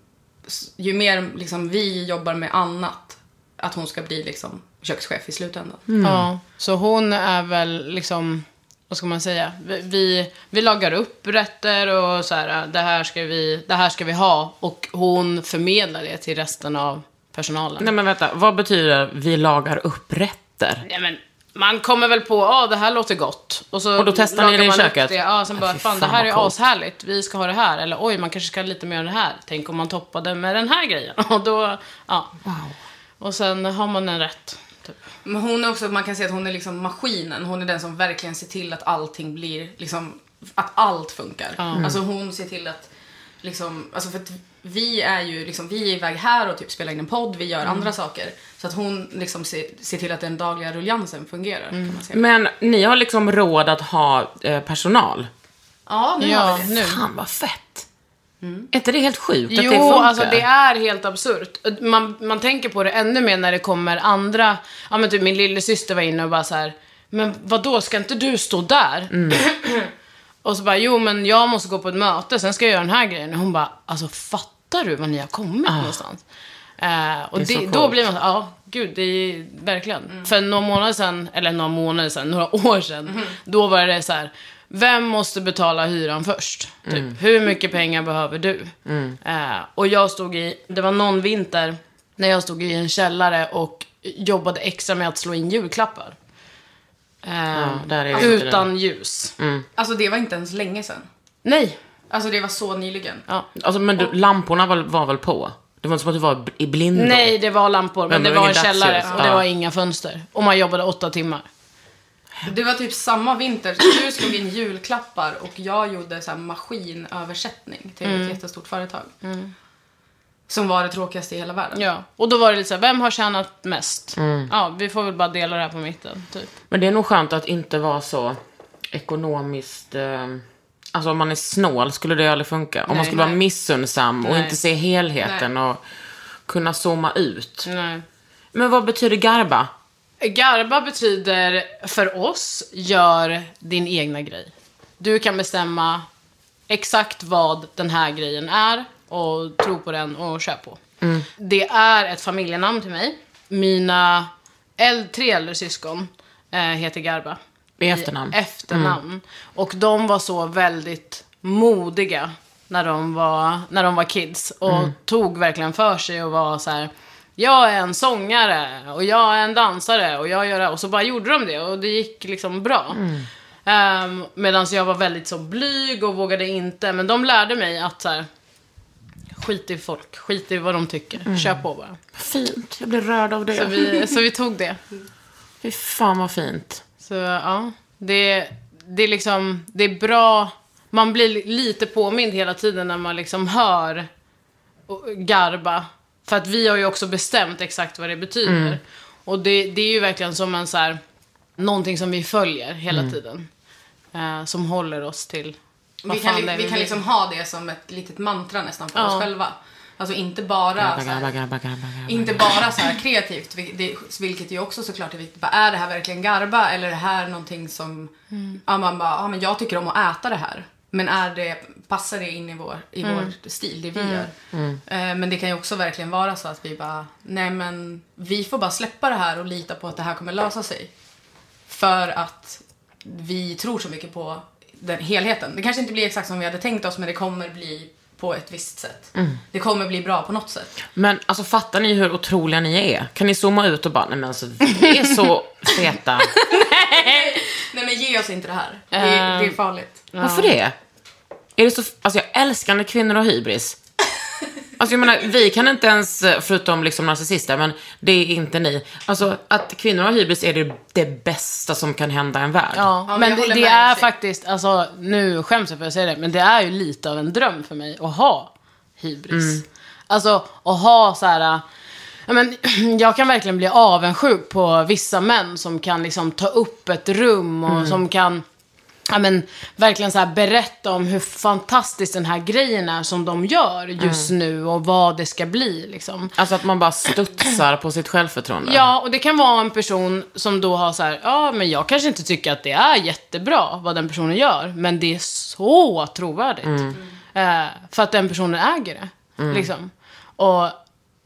S4: s- ju mer liksom vi jobbar med annat, att hon ska bli liksom kökschef i slutändan.
S2: Mm.
S3: Ja, så hon är väl liksom, vad ska man säga, vi, vi, vi lagar upp rätter och så här, äh, det här, ska vi, det här ska vi ha och hon förmedlar det till resten av personalen.
S2: Nej, men vänta. Vad betyder vi lagar upp rätter?
S3: Nej, men man kommer väl på, ja ah, det här låter gott. Och, så
S2: Och då testar ni
S3: lagar
S2: det i
S3: man
S2: köket?
S3: upp Det. Ja, sen
S2: Ja,
S3: bara,
S2: fy
S3: fan det
S2: fan,
S3: här
S2: vad
S3: är
S2: coolt.
S3: ashärligt, vi ska ha det här. Eller oj, man kanske ska ha lite mer av det här. Tänk om man toppade med den här grejen. Och då, ja. Och sen har man en rätt. Typ.
S4: Men hon är också, man kan säga att hon är liksom maskinen. Hon är den som verkligen ser till att allting blir, liksom, att allt funkar. Alltså hon ser till att, liksom, alltså för att vi är ju liksom, vi är iväg här och typ spelar in en podd, vi gör
S2: Mm.
S4: andra saker. Så att hon liksom ser, ser till att den dagliga ruljansen fungerar. Kan man säga.
S2: Men ni har liksom råd att ha eh, personal?
S4: Ja, nu har
S3: Ja,
S4: vi det.
S3: nu. Mm.
S2: Fan, vad fett. Är inte det helt sjukt att
S3: Jo,
S2: det funkar?
S3: alltså det är helt absurt. Man, man tänker på det ännu mer när det kommer andra, ja men typ min lillasyster var inne och bara så här, men vad då ska inte du stå där? och så bara, jo men jag måste gå på ett möte, sen ska jag göra den här grejen. Och hon bara, alltså fattar du vad ni har kommit någonstans? Eh, och
S2: Ah. Det är
S3: det
S2: så
S3: då
S2: coolt.
S3: blir man så här, ja gud, det är verkligen. För några månader sedan, eller några månader sedan, några år sedan, då var det så här, vem måste betala hyran först? Typ,
S2: Mm.
S3: hur mycket pengar behöver du? Eh, och jag stod i, det var någon vinter, när jag stod i en källare och jobbade extra med att slå in julklappar. Eh,
S2: där är ju inte
S3: utan ljus.
S4: Alltså det var inte ens länge sedan.
S3: Nej.
S4: Alltså det var så nyligen.
S2: Alltså, men du, lamporna var, var väl på? Det var inte som att du var i blindo?
S3: Nej, det var lampor, men,
S2: Mm. Men
S3: det
S2: det
S3: var
S2: var
S3: en
S2: ingen
S3: källare
S2: dagsljus.
S3: och det
S2: Ja.
S3: var inga fönster. Och man jobbade åtta timmar.
S4: Det var typ samma vinter som du slog in julklappar och jag gjorde så här maskinöversättning till
S3: Mm.
S4: ett jättestort företag. Som var det tråkigaste i hela världen.
S3: Ja, och då var det lite såhär, vem har tjänat mest?
S2: Mm.
S3: Ja, vi får väl bara dela det här på mitten, typ.
S2: Men det är nog skönt att inte vara så ekonomiskt... Eh, alltså om man är snål skulle det aldrig funka. Om man skulle vara missunnsam och
S3: Nej.
S2: inte se helheten och kunna zooma ut.
S3: Nej.
S2: Men vad betyder garba?
S3: Garba betyder, för oss, gör din egna grej. Du kan bestämma exakt vad den här grejen är och tro på den och köra på.
S2: Mm.
S3: Det är ett familjenamn till mig. Mina äl- tre äldre syskon eh, heter Garba.
S2: I efternamn. Mm.
S3: efternamn. Och de var så väldigt modiga när de var, när de var kids. Och
S2: Mm.
S3: tog verkligen för sig och var så här. Jag är en sångare och jag är en dansare och jag gör det här." Och så bara gjorde de det och det gick liksom bra. Mm. Medan jag var väldigt så blyg och vågade inte. Men de lärde mig att så här, skit i folk, skit i vad de tycker.
S2: Mm.
S3: Kör på bara.
S2: Fint, jag blir rörd av det.
S3: Så vi, så vi tog det.
S2: Fy fan vad fint.
S3: Så ja, det, det är liksom, det är bra, man blir lite påmind hela tiden när man liksom hör och- garba. För att vi har ju också bestämt exakt vad det betyder. Och det, det är ju verkligen som en så här, någonting som vi följer hela tiden. eh, som håller oss till vad
S4: Vi
S3: fan
S4: kan,
S3: det är
S4: li- vi kan
S3: vill.
S4: liksom ha det som ett litet mantra nästan för
S3: Ja.
S4: oss själva. Alltså inte bara, så
S2: Baggar,
S4: här,
S2: baggar, baggar, baggar.
S4: inte bara så här kreativt, vil- det- vilket ju också såklart är viktigt. Bara, Är det här verkligen garba eller är det här någonting som, ja man bara, ja men jag tycker om att äta det här. Men är det, passar det in i vår, i vår stil, det vi gör? Eh, Men det kan ju också verkligen vara så att vi bara, nej men vi får bara släppa det här och lita på att det här kommer lösa sig. För att vi tror så mycket på den helheten. Det kanske inte blir exakt som vi hade tänkt oss men det kommer bli på ett visst sätt. Det kommer bli bra på något sätt.
S2: Men alltså fattar ni hur otroliga ni är? Kan ni zooma ut och bara, nej men alltså vi är så feta.
S4: Nej men ge oss inte det här. Det, är- det är farligt.
S2: Varför det? Är det så, alltså jag älskar när kvinnor har hybris. Alltså jag menar, vi kan inte ens, förutom liksom narcissister, men det är inte ni. Alltså att kvinnor har hybris är det, det bästa som kan hända en värld.
S3: Ja,
S4: men
S3: men
S4: jag
S3: det,
S4: håller
S3: det
S4: med
S3: är
S4: dig.
S3: faktiskt, alltså nu skäms jag för att säga det, men det är ju lite av en dröm för mig att ha hybris. Alltså att ha så här, äh, ja, men, jag kan verkligen bli avundsjuk på vissa män som kan liksom ta upp ett rum och som kan Ja, men, verkligen så här, berätta om hur fantastisk den här grejen är som de gör just nu och vad det ska bli. Liksom.
S2: Alltså att man bara studsar på sitt självförtroende.
S3: Ja, och det kan vara en person som då har så här, ja men jag kanske inte tycker att det är jättebra vad den personen gör, men det är så trovärdigt.
S2: Mm.
S3: Eh, för att den personen äger det. Liksom. Och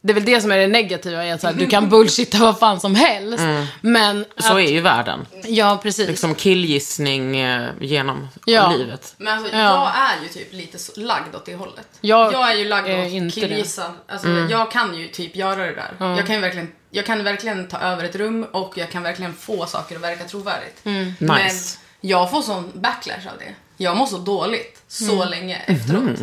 S3: det är väl det som är det negativa, är att så här, du kan bullshitta vad fan som helst. Men,
S2: Mm. Så
S3: att,
S2: är ju världen.
S3: ja precis.
S2: Liksom killgissning eh, genom
S3: Ja.
S2: livet.
S4: Men alltså
S3: Ja.
S4: jag är ju typ lite så- lagd åt det hållet.
S3: Jag
S4: är ju lagd
S3: är
S4: åt
S3: inte det. Mm.
S4: killgissa. Alltså, Jag kan ju typ göra det där. Jag, kan ju verkligen, jag kan verkligen ta över ett rum och jag kan verkligen få saker att verka trovärdigt.
S3: Mm.
S4: Men
S2: Nice.
S4: jag får sån backlash av det. Jag mår så dåligt så
S3: Mm.
S4: länge efteråt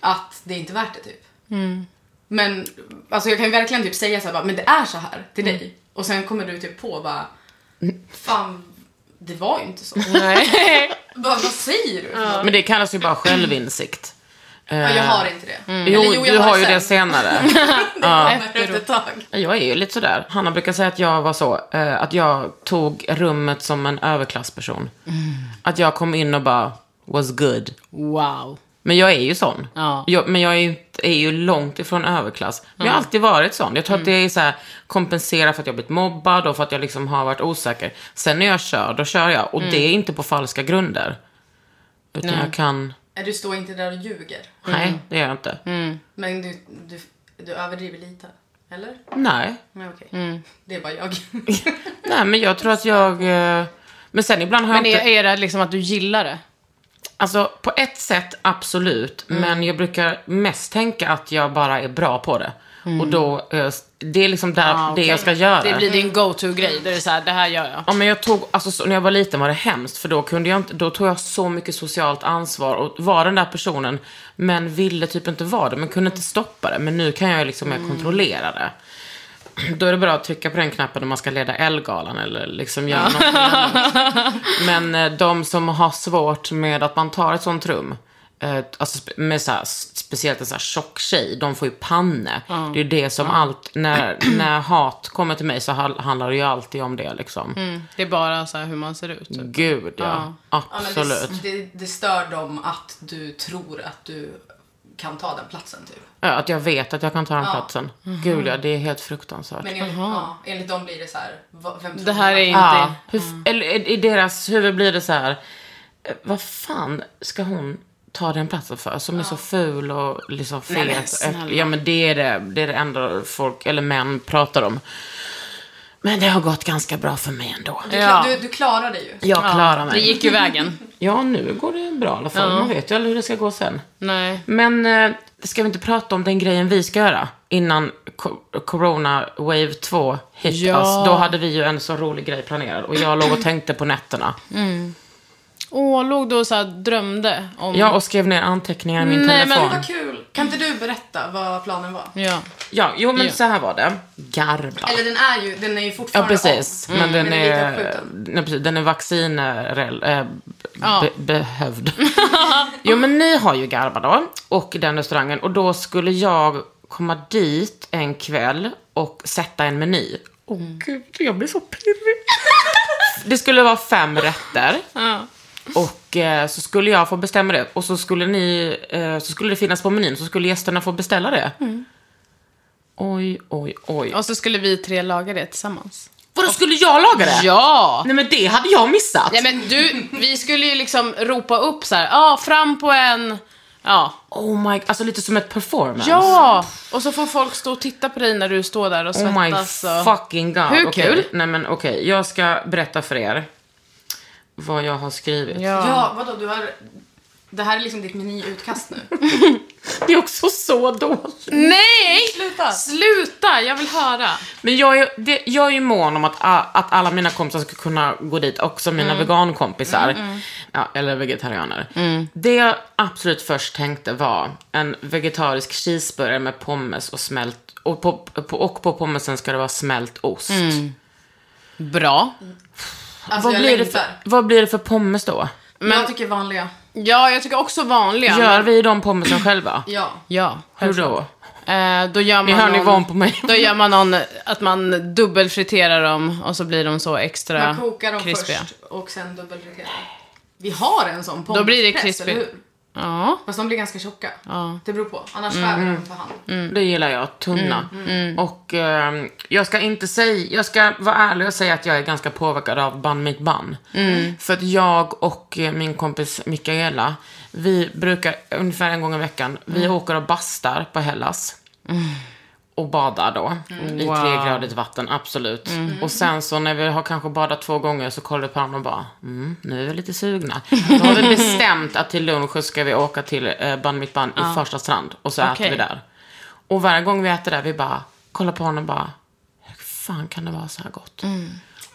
S4: att det är inte värt det typ.
S3: Mm.
S4: Men alltså, jag kan ju verkligen typ säga så här, bara, men det är så här till
S3: Mm.
S4: dig. Och sen kommer du typ på bara, fan det var ju inte så.
S3: Nej.
S4: Vad, vad säger du?
S2: Men det kallas ju bara självinsikt. Eh,
S4: Ja, jag har inte det.
S2: Jo,
S4: Eller jag
S2: du har
S4: det
S2: ju
S4: sen.
S2: det senare.
S4: Efter ett tag.
S2: Jag är ju lite sådär. Hanna brukar säga att jag var så, eh, att jag tog rummet som en överklassperson.
S3: Mm.
S2: Att jag kom in och bara, was good.
S3: Wow.
S2: Men jag är ju sån.
S3: Ja.
S2: Jag, men jag är ju, inte- är ju långt ifrån överklass. Men jag har alltid varit sån. Jag tror
S3: Mm.
S2: att det är så här, kompensera för att jag blivit mobbad och för att jag liksom har varit osäker. Sen när jag kör, då kör jag. Och
S3: Mm.
S2: det är inte på falska grunder. Utan jag kan,
S4: Nej, Du står inte där och ljuger.
S3: Mm.
S2: nej det gör jag inte.
S4: Men du, du, du överdriver lite. Eller?
S2: Nej.
S4: Nej, okej. Det är bara jag.
S2: Mm. Nej men jag tror att jag, eh, men sen ibland har
S3: Men
S2: jag inte...
S3: är, är det liksom att du gillar det?
S2: Alltså på ett sätt absolut,
S3: Mm.
S2: men jag brukar mest tänka att jag bara är bra på det. Och då, eh, det är liksom där,
S3: Ah, okej.
S2: det jag ska göra.
S3: Det blir din go-to-grej, där det är så här, det här gör jag.
S2: Ja men jag tog, alltså så, när jag var liten var det hemskt för då kunde jag inte, då tog jag så mycket socialt ansvar och var den där personen men ville typ inte vara det, men kunde inte stoppa det. Men nu kan jag ju liksom mer kontrollera det. Då är det bra att trycka på den knappen om man ska leda Ellegalan eller liksom göra något annat. Men eh, de som har svårt med att man tar ett sånt rum, eh, alltså spe- med så här, s- speciellt en så här tjock tjej, de får ju panne. Det är ju det som allt, när, när hat kommer till mig så hal- handlar det ju alltid om det liksom.
S3: Det är bara så här hur man ser ut. Typ.
S2: Gud ja,
S4: Ja, men
S2: absolut.
S4: Det, det, det stör dem att du tror att du kan ta den platsen typ.
S2: Ja, att jag vet att jag kan ta den platsen.
S3: Mhm.
S2: Gud ja, det är helt fruktansvärt.
S4: Men enligt, ja, enligt dem blir det så här, vad- vem tror
S3: Det här
S4: du
S3: är
S4: att-
S3: inte... Mm.
S2: Ja, hur, f- eller i- i deras huvud blir det så här, eh, vad fan ska hon ta den platsen för? Som är så ful och liksom fet.
S3: men
S2: och äcklig.
S3: snälla.
S2: ja men det är det, det är det enda folk, eller män, pratar om. Men det har gått ganska bra för mig ändå.
S4: Du,
S3: Ja.
S4: du, du klarar det ju.
S2: Jag klarar mig.
S3: Det gick ju vägen.
S2: Ja, nu går det bra i alla fall. Man vet ju aldrig hur det ska gå sen.
S3: Nej.
S2: Men eh, ska vi inte prata om den grejen vi ska göra innan co- corona wave 2 hit
S3: Ja.
S2: us? Då hade vi ju en så rolig grej planerad och jag låg och tänkte på nätterna.
S3: Mm. Åh, låg du och så här drömde om...
S2: Ja, och skrev ner anteckningar i min
S3: Nej, men
S2: telefon.
S4: Vad kul. Kan inte du berätta vad planen var?
S3: Ja.
S2: Ja, jo men så här var det. Garba.
S4: Eller den är ju, den är ju
S2: Ja,
S4: fortfarande
S2: precis.
S3: Mm.
S4: av,
S2: Men den
S4: den är lite
S2: är,
S4: uppskjuten.
S2: nej, precis, den är vaccinrel, eh, be-
S3: Ja.
S2: behövd. jo, men ni har ju Garba då och den restaurangen. Och då skulle jag komma dit en kväll och sätta en meny.
S3: Mm.
S2: Åh gud, jag blir så pirrig. det skulle vara fem rätter. Och eh, så skulle jag få bestämma det. Och så skulle, ni, eh, så skulle det finnas på menyn, så skulle gästerna få beställa det.
S3: Mm.
S2: Oj, oj, oj.
S3: Och så skulle vi tre laga det tillsammans.
S2: Vadå, skulle jag laga det?
S3: Ja!
S2: Nej men det hade jag missat.
S3: Nej men du, vi skulle ju liksom ropa upp så här, ja fram på en, ja.
S2: Oh my, alltså lite som ett performance.
S3: Ja! Och så får folk stå och titta på dig när du står där och
S2: Oh my
S3: svettas. och...
S2: fucking god.
S3: Hur
S2: Okej,
S3: kul?
S2: Nej men okej, jag ska berätta för er vad jag har skrivit.
S3: Ja.
S4: Ja, vadå, du har... Det här är liksom ditt menyutkast nu.
S2: Det är också så dåligt.
S3: Nej!
S4: Sluta!
S3: Sluta, jag vill höra.
S2: Men jag är, det, jag är ju mån om att, a- att alla mina kompisar ska kunna gå dit, också mina
S3: Mm.
S2: vegankompisar. Ja, eller vegetarianer.
S3: Mm.
S2: Det jag absolut först tänkte var en vegetarisk cheeseburgare med pommes och smält, och på, på, och på pommesen ska det vara smält ost.
S3: Mm. Bra.
S4: Alltså,
S2: Vad,
S4: jag
S2: blir det för,
S4: längtar.
S2: vad blir det för pommes då?
S4: Jag tycker vanliga.
S3: Ja, jag tycker också vanliga.
S2: Gör
S3: men-
S2: vi de pommesen själva?
S4: Ja.
S3: Ja.
S2: Hur då?
S3: Eh, då gör man
S2: Ni hör
S3: någon...
S2: nivån på mig.
S3: Då gör man någon, att man dubbelfriterar dem och så blir de så extra
S4: Man kokar dem
S3: krispiga.
S4: först och sen dubbelriterar. Vi har en sån pommespress,
S3: Då blir det krispigt.
S4: eller hur?
S3: Ja.
S4: Fast de blir ganska tjocka.
S3: Ja. Mm.
S4: Det beror på, annars skär vi dem för hand.
S2: Det gillar jag, tunna. Och ehm, jag ska inte säga, jag ska vara ärlig och säga att jag är ganska påverkad av Band mitt band.
S3: Mm.
S2: För att jag och eh, min kompis Mikaela, vi brukar ungefär en gång i veckan, vi
S3: Mm.
S2: åker och bastar på Hellas. Och badar då, i
S3: Mm. Wow. Mm.
S2: tregradigt vatten, absolut. Och sen så när vi har kanske badat två gånger så kollar vi på varandra och bara, mm, nu är vi lite sugna. Då har vi bestämt att till lunch så ska vi åka till eh, Band mitt band i första strand och så äter
S3: Okej.
S2: vi där. Och varje gång vi äter där, vi bara kollar på honom och bara, hur fan kan det vara så här gott?
S3: Mm.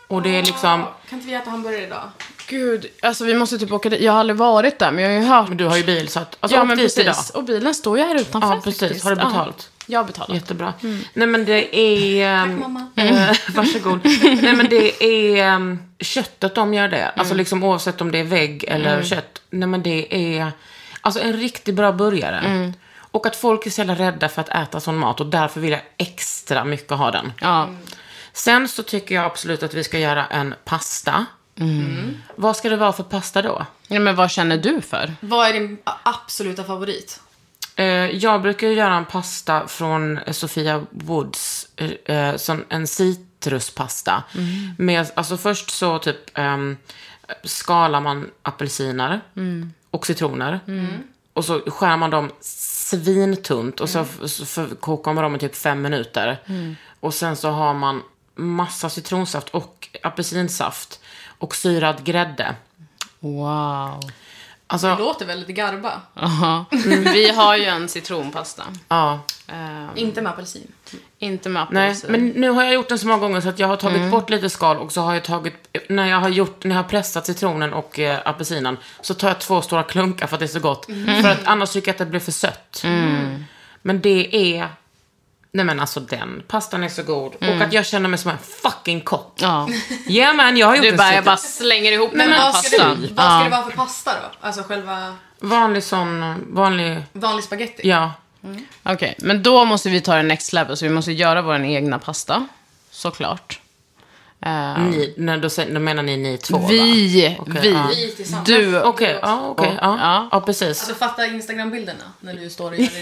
S2: Och det är liksom,
S4: Kan inte vi äta hamburgare idag?
S3: Gud, alltså vi måste typ åka dit. Jag har aldrig varit där, men jag har ju hört.
S2: men du har ju bil så att, alltså
S3: ja,
S2: åk
S3: men
S2: dit
S3: precis.
S2: idag.
S3: Och bilen står ju här utanför
S2: Ja, precis.
S3: faktiskt.
S2: Har du betalt?
S3: Ja, jag har betalat.
S2: Jättebra. Nej men det är... Tack
S4: mamma.
S2: varsågod. Nej men det är ehm, köttet de gör det. Alltså liksom oavsett om det är vägg eller kött. Nej men det är alltså en riktigt bra burgare. Och att folk är så jävla rädda för att äta sån mat och därför vill jag extra mycket ha den.
S3: Ja.
S2: Sen så tycker jag absolut att vi ska göra en pasta. Vad ska det vara för pasta då?
S3: ja, men vad känner du för?
S4: Vad är din absoluta favorit?
S2: Eh, jag brukar ju göra en pasta från eh, Sofia Woods, eh, eh, som en citruspasta. Med, alltså först så typ ehm, skalar man apelsiner och citroner. Och så skär man dem svintunt och så, f- så f- kokar man dem i typ fem minuter. Och sen så har man massa citronsaft och apelsinsaft och syrad grädde.
S3: Wow.
S2: Alltså,
S4: Det låter väldigt garba.
S3: Aha. Mm, Vi har ju en citronpasta.
S2: ja.
S3: Eh,
S4: Inte med apelsin.
S3: Mm. inte med
S2: Nej,
S3: apelsin.
S2: men nu har jag gjort den så många gånger så att jag har tagit
S3: Mm.
S2: bort lite skal och så har jag tagit, när jag har, gjort, när jag har pressat citronen och eh, apelsinen så tar jag två stora klunkar för att det är så gott.
S3: Mm.
S2: För att annars tycker jag att det blir för sött. Men det är, nej men alltså den pastan är så god och att jag känner mig som en fucking kock.
S3: Mm. Ja.
S2: Yeah man, jag har gjort
S3: Du
S2: en
S3: bara, jag
S2: citron-
S3: bara slänger ihop
S4: Men
S3: den här
S4: vad, ska det, vad
S3: pastan.
S4: ska det
S3: Ja.
S4: vara för pasta då? Alltså själva
S2: vanlig sån, vanlig,
S4: vanlig spagetti?
S2: ja.
S3: Okej, men då måste vi ta det next level, så vi måste göra vår egna pasta. Såklart. Eh,
S2: Ni, nej, då, säger- då menar ni ni två va?
S3: vi,
S2: Okej,
S3: vi,
S2: ja.
S4: Vi tillsammans.
S3: du och...
S2: Okej, ja okej, ja.
S3: Ja.
S2: Ja precis.
S4: Alltså fatta Instagram-bilderna när du står och gör din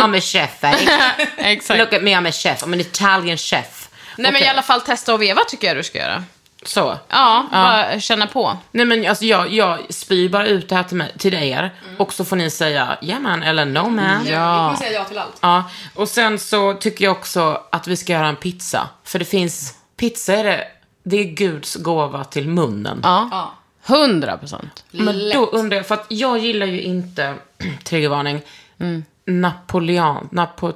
S2: I'm a chef, eh.
S3: Exakt.
S2: Look at me, I'm a chef. I'm an Italian chef.
S3: Nej men
S2: Okej,
S3: i alla fall testa och veva tycker jag du ska göra.
S2: Så.
S3: Ja, bara känna på.
S2: Nej men alltså jag, jag spyr bara ut det här till, mig, till er
S3: Mm.
S2: och så får ni säga yeah man eller no man. Ja.
S4: Vi kommer säga ja till allt.
S2: Och sen så tycker jag också att vi ska göra en pizza. För det finns, pizza är det, det är Guds gåva till munnen.
S3: Ja. Hundra procent. Mm.
S2: Men då undrar jag, för att jag gillar ju inte, triggervarning,
S3: Mm.
S2: napoleon, napo,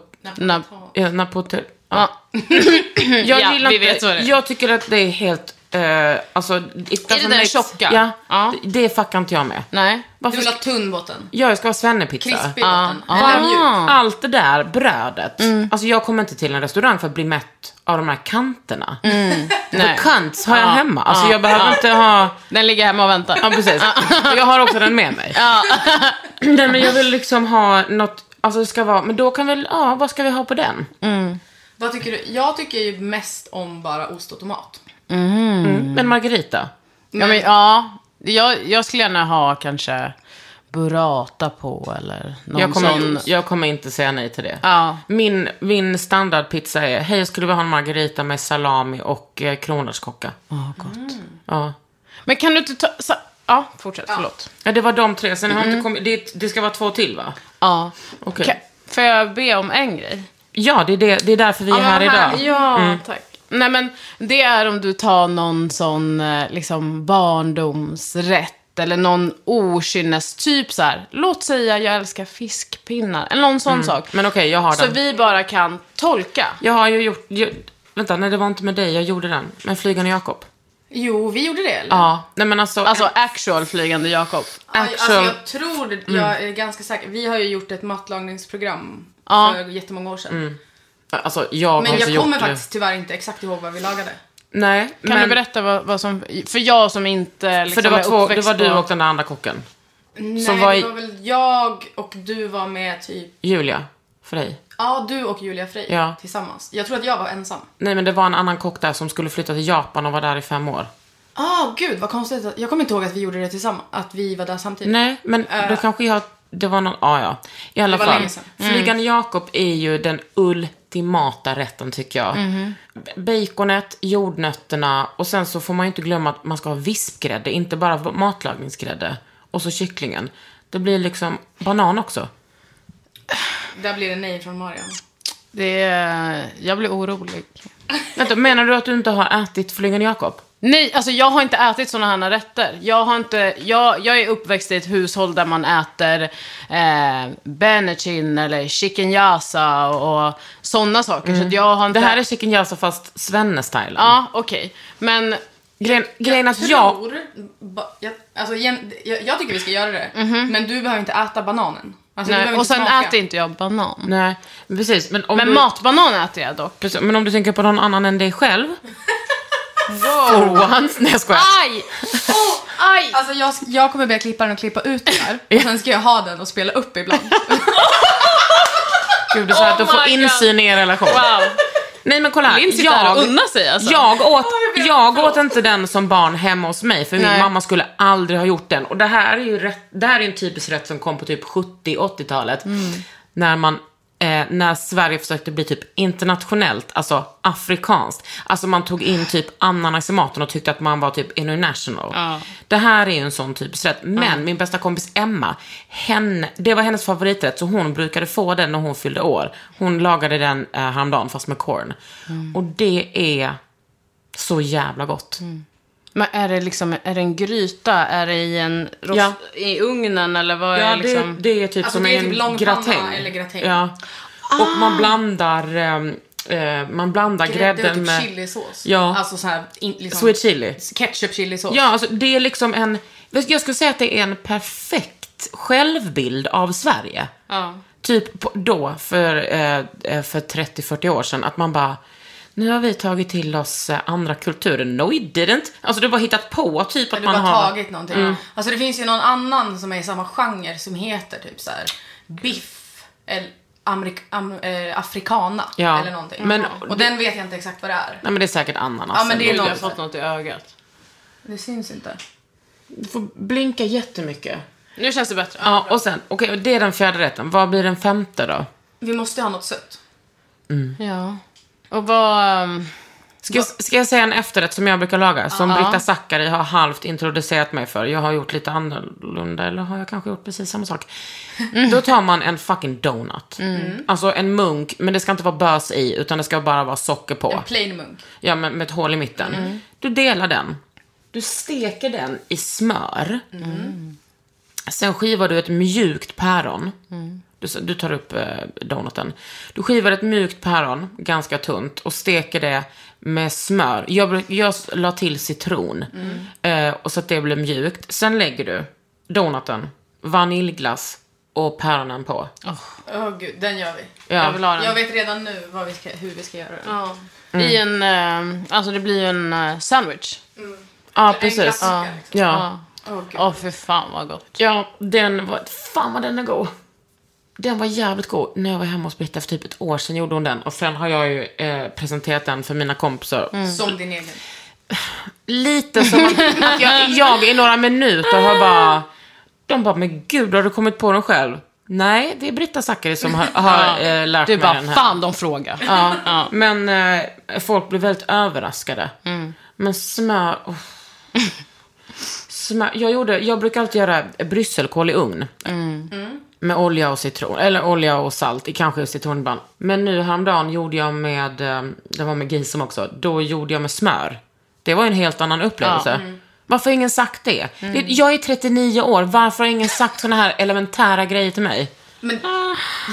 S3: Ja.
S2: ja, napote,
S3: Ja.
S2: Jag
S3: Ja,
S2: gillar
S3: vi
S2: inte,
S3: vet vad det är.
S2: Jag tycker att det är helt... eh, alltså, it
S3: Är det
S2: doesn't
S3: den
S2: make-
S3: tjocka?
S2: Ja,
S3: Ja.
S2: Det, det fuckar inte jag med.
S3: Nej.
S4: Du
S2: Varför
S4: vill ha
S2: ska,
S4: tunn botten.
S2: ja, jag ska ha svennepizza.
S4: Krispig
S3: Ja,
S4: botten.
S3: ja.
S4: Eller
S2: Bara
S4: mjuk.
S2: mjukt. Allt det där brödet.
S3: Mm.
S2: Alltså jag kommer inte till en restaurang för att bli mätt av de här kanterna.
S3: Nej.
S2: För kants har jag
S3: Mm. Ja,
S2: hemma. Alltså
S3: ja,
S2: jag behöver
S3: ja.
S2: inte ha...
S3: Den ligger hemma och väntar.
S2: Ja, precis. Jag har också den med mig. Nej, men jag vill liksom ha något... Alltså det ska vara... Men då kan väl... Ja, vad ska vi ha på den?
S4: Vad tycker du? Jag tycker ju mest om bara ost och tomat.
S2: Mm. En margarita.
S3: Ja, men, ja jag, jag skulle gärna ha kanske burrata på eller någon
S2: Jag kommer,
S3: sån.
S2: jag kommer inte säga nej till det.
S3: Ja.
S2: Min, min standardpizza är, hej jag skulle vilja ha en margarita med salami och eh, kronärtskocka.
S3: Ja, gott.
S2: Ja.
S3: Men kan du inte ta... Sa, ja, fortsätt. Förlåt.
S2: ja, det var de tre. Sen har jag inte kommit, det, det ska vara två till va?
S3: Mm. Ja.
S2: Okej.
S3: Kan, får jag be om en grej?
S2: Ja, det är, det, det är därför vi är
S3: Ja,
S2: här
S3: men
S2: idag. Mm.
S3: Ja, tack. Nej, men det är om du tar någon sån eh, liksom barndomsrätt eller någon okynnes, typ så här, låt säga jag älskar fiskpinnar, eller någon sån sak.
S2: Mm. Men okej, jag har
S3: Så
S2: den.
S3: vi bara kan tolka.
S2: Jag har ju gjort, ju- vänta, nej det var inte med dig, jag gjorde den. Med Flygande Jakob.
S4: Jo, vi gjorde det eller?
S2: Ja, nej men alltså,
S3: Alltså actual flygande Jakob.
S4: Alltså,
S2: actual.
S4: jag tror det, jag
S2: Mm.
S4: är ganska säker. Vi har ju gjort ett matlagningsprogram
S3: Ja.
S4: för jättemånga år sedan.
S2: alltså, jag har
S4: Men
S2: inte
S4: jag
S2: Mm. gjort
S4: kommer
S2: det.
S4: faktiskt tyvärr inte exakt ihåg vad vi lagade.
S2: Nej,
S3: Kan
S2: men,
S3: du berätta vad, vad som, för jag som inte liksom
S2: För det var,
S3: är
S2: två, det
S3: uppväxt
S2: var du
S3: på-
S2: och den där andra kocken.
S4: Nej,
S2: Som var i-
S4: det var väl jag och du var med typ,
S2: Julia, för dig.
S4: ja du och Julia Frey
S2: Ja.
S4: tillsammans. Jag tror att jag var ensam.
S2: Nej men det var en annan kock där som skulle flytta till Japan och var där i fem år.
S4: Ah, gud vad konstigt. att- Jag kommer inte ihåg att vi gjorde det tillsammans, att vi var där samtidigt.
S2: Nej, men då kanske jag... Det var någon... Ah, ja, I alla
S4: Äh. Det var
S2: fall.
S4: länge sedan. Mm.
S2: Flygande Jakob är ju den ultimata rätten tycker jag.
S4: Mhm.
S2: B- Baconet, jordnötterna och sen så får man ju inte glömma att man ska ha vispgrädde, inte bara matlagningsgrädde. Och så kycklingen. Det blir liksom banan också.
S4: Där blir det nej från Marian.
S3: Det är, jag blir orolig.
S2: Vänta, menar du att du inte har ätit Flygande Jakob?
S3: Nej, alltså jag har inte ätit sådana här rätter. Jag, har inte, jag, jag är uppväxt i ett hushåll där man äter eh, benetchin eller chicken yasa och, och sådana saker. Så att jag har inte...
S2: Mm. Det här är chicken jasa fast svenne-stylen.
S3: Ja, okej. Men...
S2: Grejen, grejen att jag...
S4: tror, ba, jag, alltså, igen, jag, jag tycker vi ska göra det.
S2: Mhm.
S4: Men du behöver inte äta bananen. Alltså, du
S3: Nej,
S4: behöver
S3: och sen
S4: inte smaka.
S3: äter inte jag banan.
S2: Nej, precis. Men, om
S3: Men
S2: du,
S3: matbanan äter jag dock.
S2: precis, men om du tänker på någon annan än dig själv. For once. Nej, jag skojar.
S3: Aj! Oh, aj!
S4: Alltså jag, jag kommer be klipparen att klippa ut det här. Och sen ska jag ha den och spela upp ibland.
S2: Gud, det är så här att du
S3: Oh
S2: får
S3: my
S2: insyn i er relation.
S3: Wow.
S2: Nej men kolla här.
S3: Linn sitter här och unnar sig alltså.
S2: jag åt,
S4: jag vet,
S2: jag
S4: förlåt.
S2: åt inte den som barn hemma hos mig för min
S3: Nej.
S2: mamma skulle aldrig ha gjort den. Och det här är ju rätt, det här är en typisk rätt som kom på typ 70-80-talet.
S3: Mm.
S2: När man Eh, när Sverige försökte bli typ internationellt, alltså afrikanskt. Alltså man tog in typ ananas i maten och tyckte att man var typ international.
S3: Ja.
S2: Det här är ju en sån typisk rätt. Men min bästa kompis Emma, henne, det var hennes favoriträtt så hon brukade få den när hon fyllde år. Hon lagade den eh, häromdagen fast med korn.
S3: Mm.
S2: Och det är så jävla gott.
S3: Men är det liksom, är det en gryta? Är det i en rost,
S2: Ja.
S3: i ugnen eller vad
S2: Ja,
S3: är liksom?
S2: det, det är typ
S4: Alltså,
S2: som
S4: det är
S2: en
S4: typ långpanna
S2: gratäng.
S4: eller gratäng. Ah.
S2: Ja. Och man blandar, ehm, eh, man blandar
S4: Grädde och
S2: grädden
S4: typ
S2: med...
S4: chilisås.
S2: Ja.
S4: Alltså så här, in, liksom,
S2: Sweet chili.
S4: ketchup chilisås.
S2: Ja, alltså det är liksom en... Jag skulle säga att det är en perfekt självbild av Sverige.
S3: Ja.
S2: Typ på- då, för, eh, eh, för 30-40 år sedan, att man bara nu har vi tagit till oss eh, andra kulturer. No, we didn't. Alltså du har bara hittat på typ att
S4: Eller bara
S2: man har... Mm.
S4: tagit någonting. Alltså det finns ju någon annan som är i samma genre som heter typ så här biff eller amerik- am- eh, africana
S2: Ja,
S4: eller någonting.
S2: men-
S4: och den vet jag inte exakt vad det är.
S2: Nej men det är säkert ananas.
S4: Ja, men det är
S2: eller
S4: något.
S3: Jag har fått något i ögat.
S4: Det syns inte.
S2: Du får blinka jättemycket.
S3: Nu känns det bättre.
S2: Ja, och sen, okej, det är den fjärde rätten. Vad blir den femte då?
S4: Vi måste ha något sött.
S3: Ja. Och vad... ehm,
S2: Ska jag, ska jag säga en efterrätt som jag brukar laga? Som Britta Zackari har halvt introducerat mig för. Jag har gjort lite annorlunda, eller har jag kanske gjort precis samma sak? Då tar man en fucking donut. Alltså en munk, men det ska inte vara bös i, utan det ska bara vara socker på.
S4: En plain munk.
S2: Ja, men med ett hål i mitten. Du delar den. Du steker den i smör. Sen skivar du ett mjukt päron. Du, du tar upp eh, donuten. Du skivar ett mjukt päron, ganska tunt, och steker det med smör. Jag, bruk- jag s- la till citron,
S3: Mm.
S2: eh, och så att det blev mjukt. Sen lägger du donuten, vaniljglass och päronen på.
S4: Åh gud, den gör vi.
S2: Ja.
S3: Jag vill ha den.
S4: Jag vet redan nu vad vi ska, hur vi ska göra den.
S3: Ja. I en... ehm, alltså det blir ju en eh, sandwich.
S2: Ja,
S4: Mm. En
S2: precis.
S4: klassiker. liksom.
S2: ja.
S4: Åh gud.
S3: Åh, för fan vad gott.
S2: Ja, den var... Fan vad den är god. Den var jävligt god. När jag var hemma hos Britta för typ ett år sedan
S4: Mm.
S2: gjorde hon den. Och sen har jag ju eh, presenterat den för mina kompisar.
S4: Som din egen.
S2: lite som att, att jag, jag i några minuter har bara... De bara, men gud, har du kommit på den själv? Nej, det är Britta Zackari som har, har eh, lärt
S3: Du
S2: mig
S3: bara,
S2: den här.
S3: fan de frågar.
S2: Ja, Men eh, folk blir väldigt överraskade. Men smör... Oh. smör jag, gjorde, jag brukar alltid göra brysselkål i ugn. Mm. Med olja och citron. Eller olja och salt. i- Kanske citron ibland. Men nu häromdagen gjorde jag med... eh, Det var med Gisem också. Då gjorde jag med smör. Det var ju en helt annan upplevelse. Mm. Varför har ingen sagt det? det? Jag är 39 år. Varför har ingen sagt såna här elementära grejer till mig?
S4: Men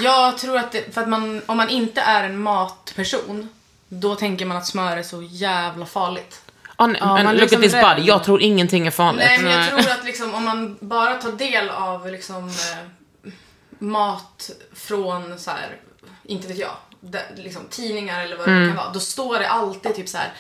S4: jag tror att det, för att man, om man inte är en matperson, då tänker man att smör är så jävla farligt.
S2: Oh, nej,
S3: Ja,
S2: men
S3: man är
S2: look
S3: liksom
S2: at this
S3: rädd.
S2: body. Jag tror ingenting är farligt.
S4: Nej, men jag tror att liksom, om man bara tar del av liksom, eh, mat från, så här, inte vet jag, de, liksom, tidningar eller vad det
S3: Mm.
S4: kan vara. Då står det alltid typ så här.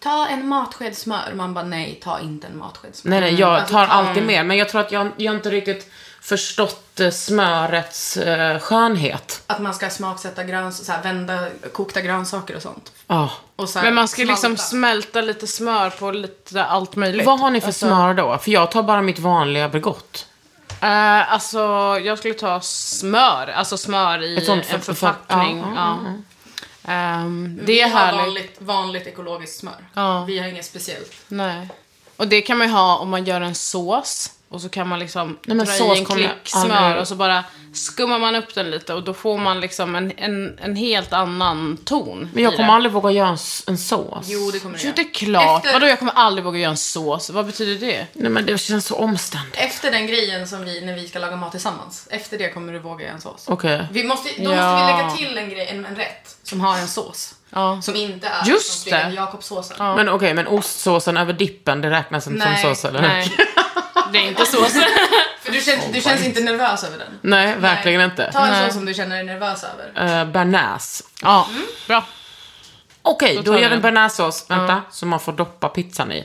S4: Ta en matsked smör. Man bara nej, ta inte en matsked smör.
S2: Nej, nej, jag
S4: Alltså,
S2: tar
S4: ta-
S2: alltid med. Men jag tror att jag, jag har inte riktigt förstått eh, smörets eh, skönhet.
S4: Att man ska smaksätta gröns så här, vända kokta grönsaker och sånt.
S2: Ja.
S4: Och så här,
S3: Men man ska liksom
S4: smalta.
S3: smälta lite smör på lite allt möjligt. Alltså,
S2: Vad har ni för smör då? För jag tar bara mitt vanliga Bregott.
S3: Eh, alltså, jag skulle ta smör. Alltså smör i
S2: Ett sånt för-
S3: en förpackning.
S2: för- ja,
S3: Ja. Ehm, det är
S4: vi har
S3: härligt.
S4: vanligt, vanligt ekologiskt smör.
S3: Ja.
S4: Vi har inget speciellt.
S3: Nej. Och det kan man ju ha om man gör en sås. Och så kan man liksom
S2: Nej, men
S3: dra
S2: sås
S3: i en
S2: kommer jag
S3: klick
S2: aldrig-
S3: smör och så bara skummar man upp den lite och då får man liksom en, en, en helt annan ton.
S2: Men jag
S3: i
S2: kommer
S3: det.
S2: aldrig våga göra en, s- en sås.
S4: Jo, det kommer
S3: Jo,
S4: det
S3: det
S4: göra.
S3: är klart.
S4: Efter-
S3: Vadå, jag kommer aldrig våga göra en sås. Vad betyder det?
S2: Nej, men det känns så omständigt.
S4: Efter den grejen som vi, när vi ska laga mat tillsammans, efter det kommer du våga göra en sås.
S2: Okej.
S4: Vi måste, då måste vi
S3: Ja.
S4: lägga till en, grej, en, en rätt som har en sås.
S3: Ja.
S4: Som inte är
S3: Just
S4: som Fröken
S3: det.
S4: Jakobssåsen.
S2: Men okej, men ostsåsen över dippen, det räknas inte
S4: Nej,
S2: som sås eller?
S3: Nej. Det är inte sås.
S4: För du känns, du känns inte nervös över den.
S2: Nej, verkligen
S4: Nej.
S2: inte.
S4: Ta en sås som du känner dig nervös över.
S2: Uh, bearnaise.
S3: Ja, bra.
S2: Okej,
S3: Då
S2: då,
S3: tar
S2: gör
S3: vi
S2: vi en
S3: den.
S2: bearnaisesås, vänta, som man får doppa pizzan i.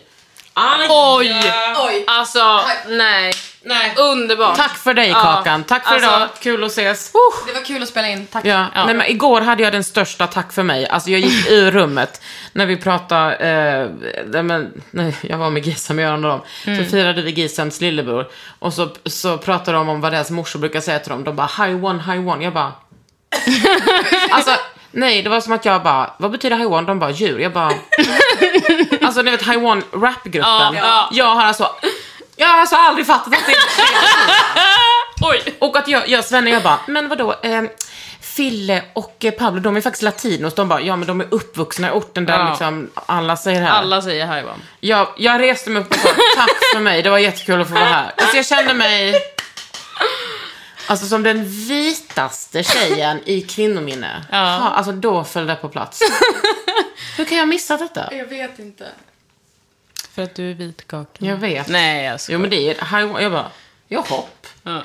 S3: Oj!
S4: Oj!
S3: Alltså, nej.
S2: Nej.
S3: Underbart.
S2: Tack för dig
S3: Ja.
S2: Kakan, tack för
S3: Alltså-
S2: idag, kul att ses.
S4: Det var kul att spela in, tack.
S2: Ja,
S3: Ja.
S2: Nej, men igår hade jag den största tack för mig. Alltså jag gick ur rummet när vi pratade, eh, nej, men, nej, jag var med Gisem och Göran och dem.
S3: Mm.
S2: Så firade vi Gisems lillebror. Och så, så pratade de om vad deras morsor brukar säga till dem. De bara hi one, hi one. Jag bara... alltså, nej, det var som att jag bara, vad betyder hi one? De bara djur. Jag bara... alltså ni vet hi one rapgruppen.
S3: Ja, ja.
S2: Jag har alltså... Jag har alltså aldrig fattat att det
S3: Oj!
S2: och att jag, jag Svenne, jag bara, men vadå, eh, Fille och eh, Pablo, de är faktiskt latinos. De bara, ja men de är uppvuxna i orten där
S3: Ja.
S2: liksom alla säger det här.
S3: Alla säger hajvan.
S2: Jag, jag reste mig upp och sa, tack för mig, det var jättekul att få vara här. Alltså jag kände mig, alltså som den vitaste tjejen i kvinnominne.
S3: Ja.
S2: alltså då föll det på plats. Hur kan jag missa detta?
S4: Jag vet inte.
S3: För att du är vit kaka.
S2: Jag vet.
S3: Nej, jag skojar.
S2: Jo men det är, haj- jag bara, jag hopp.
S4: Vadå,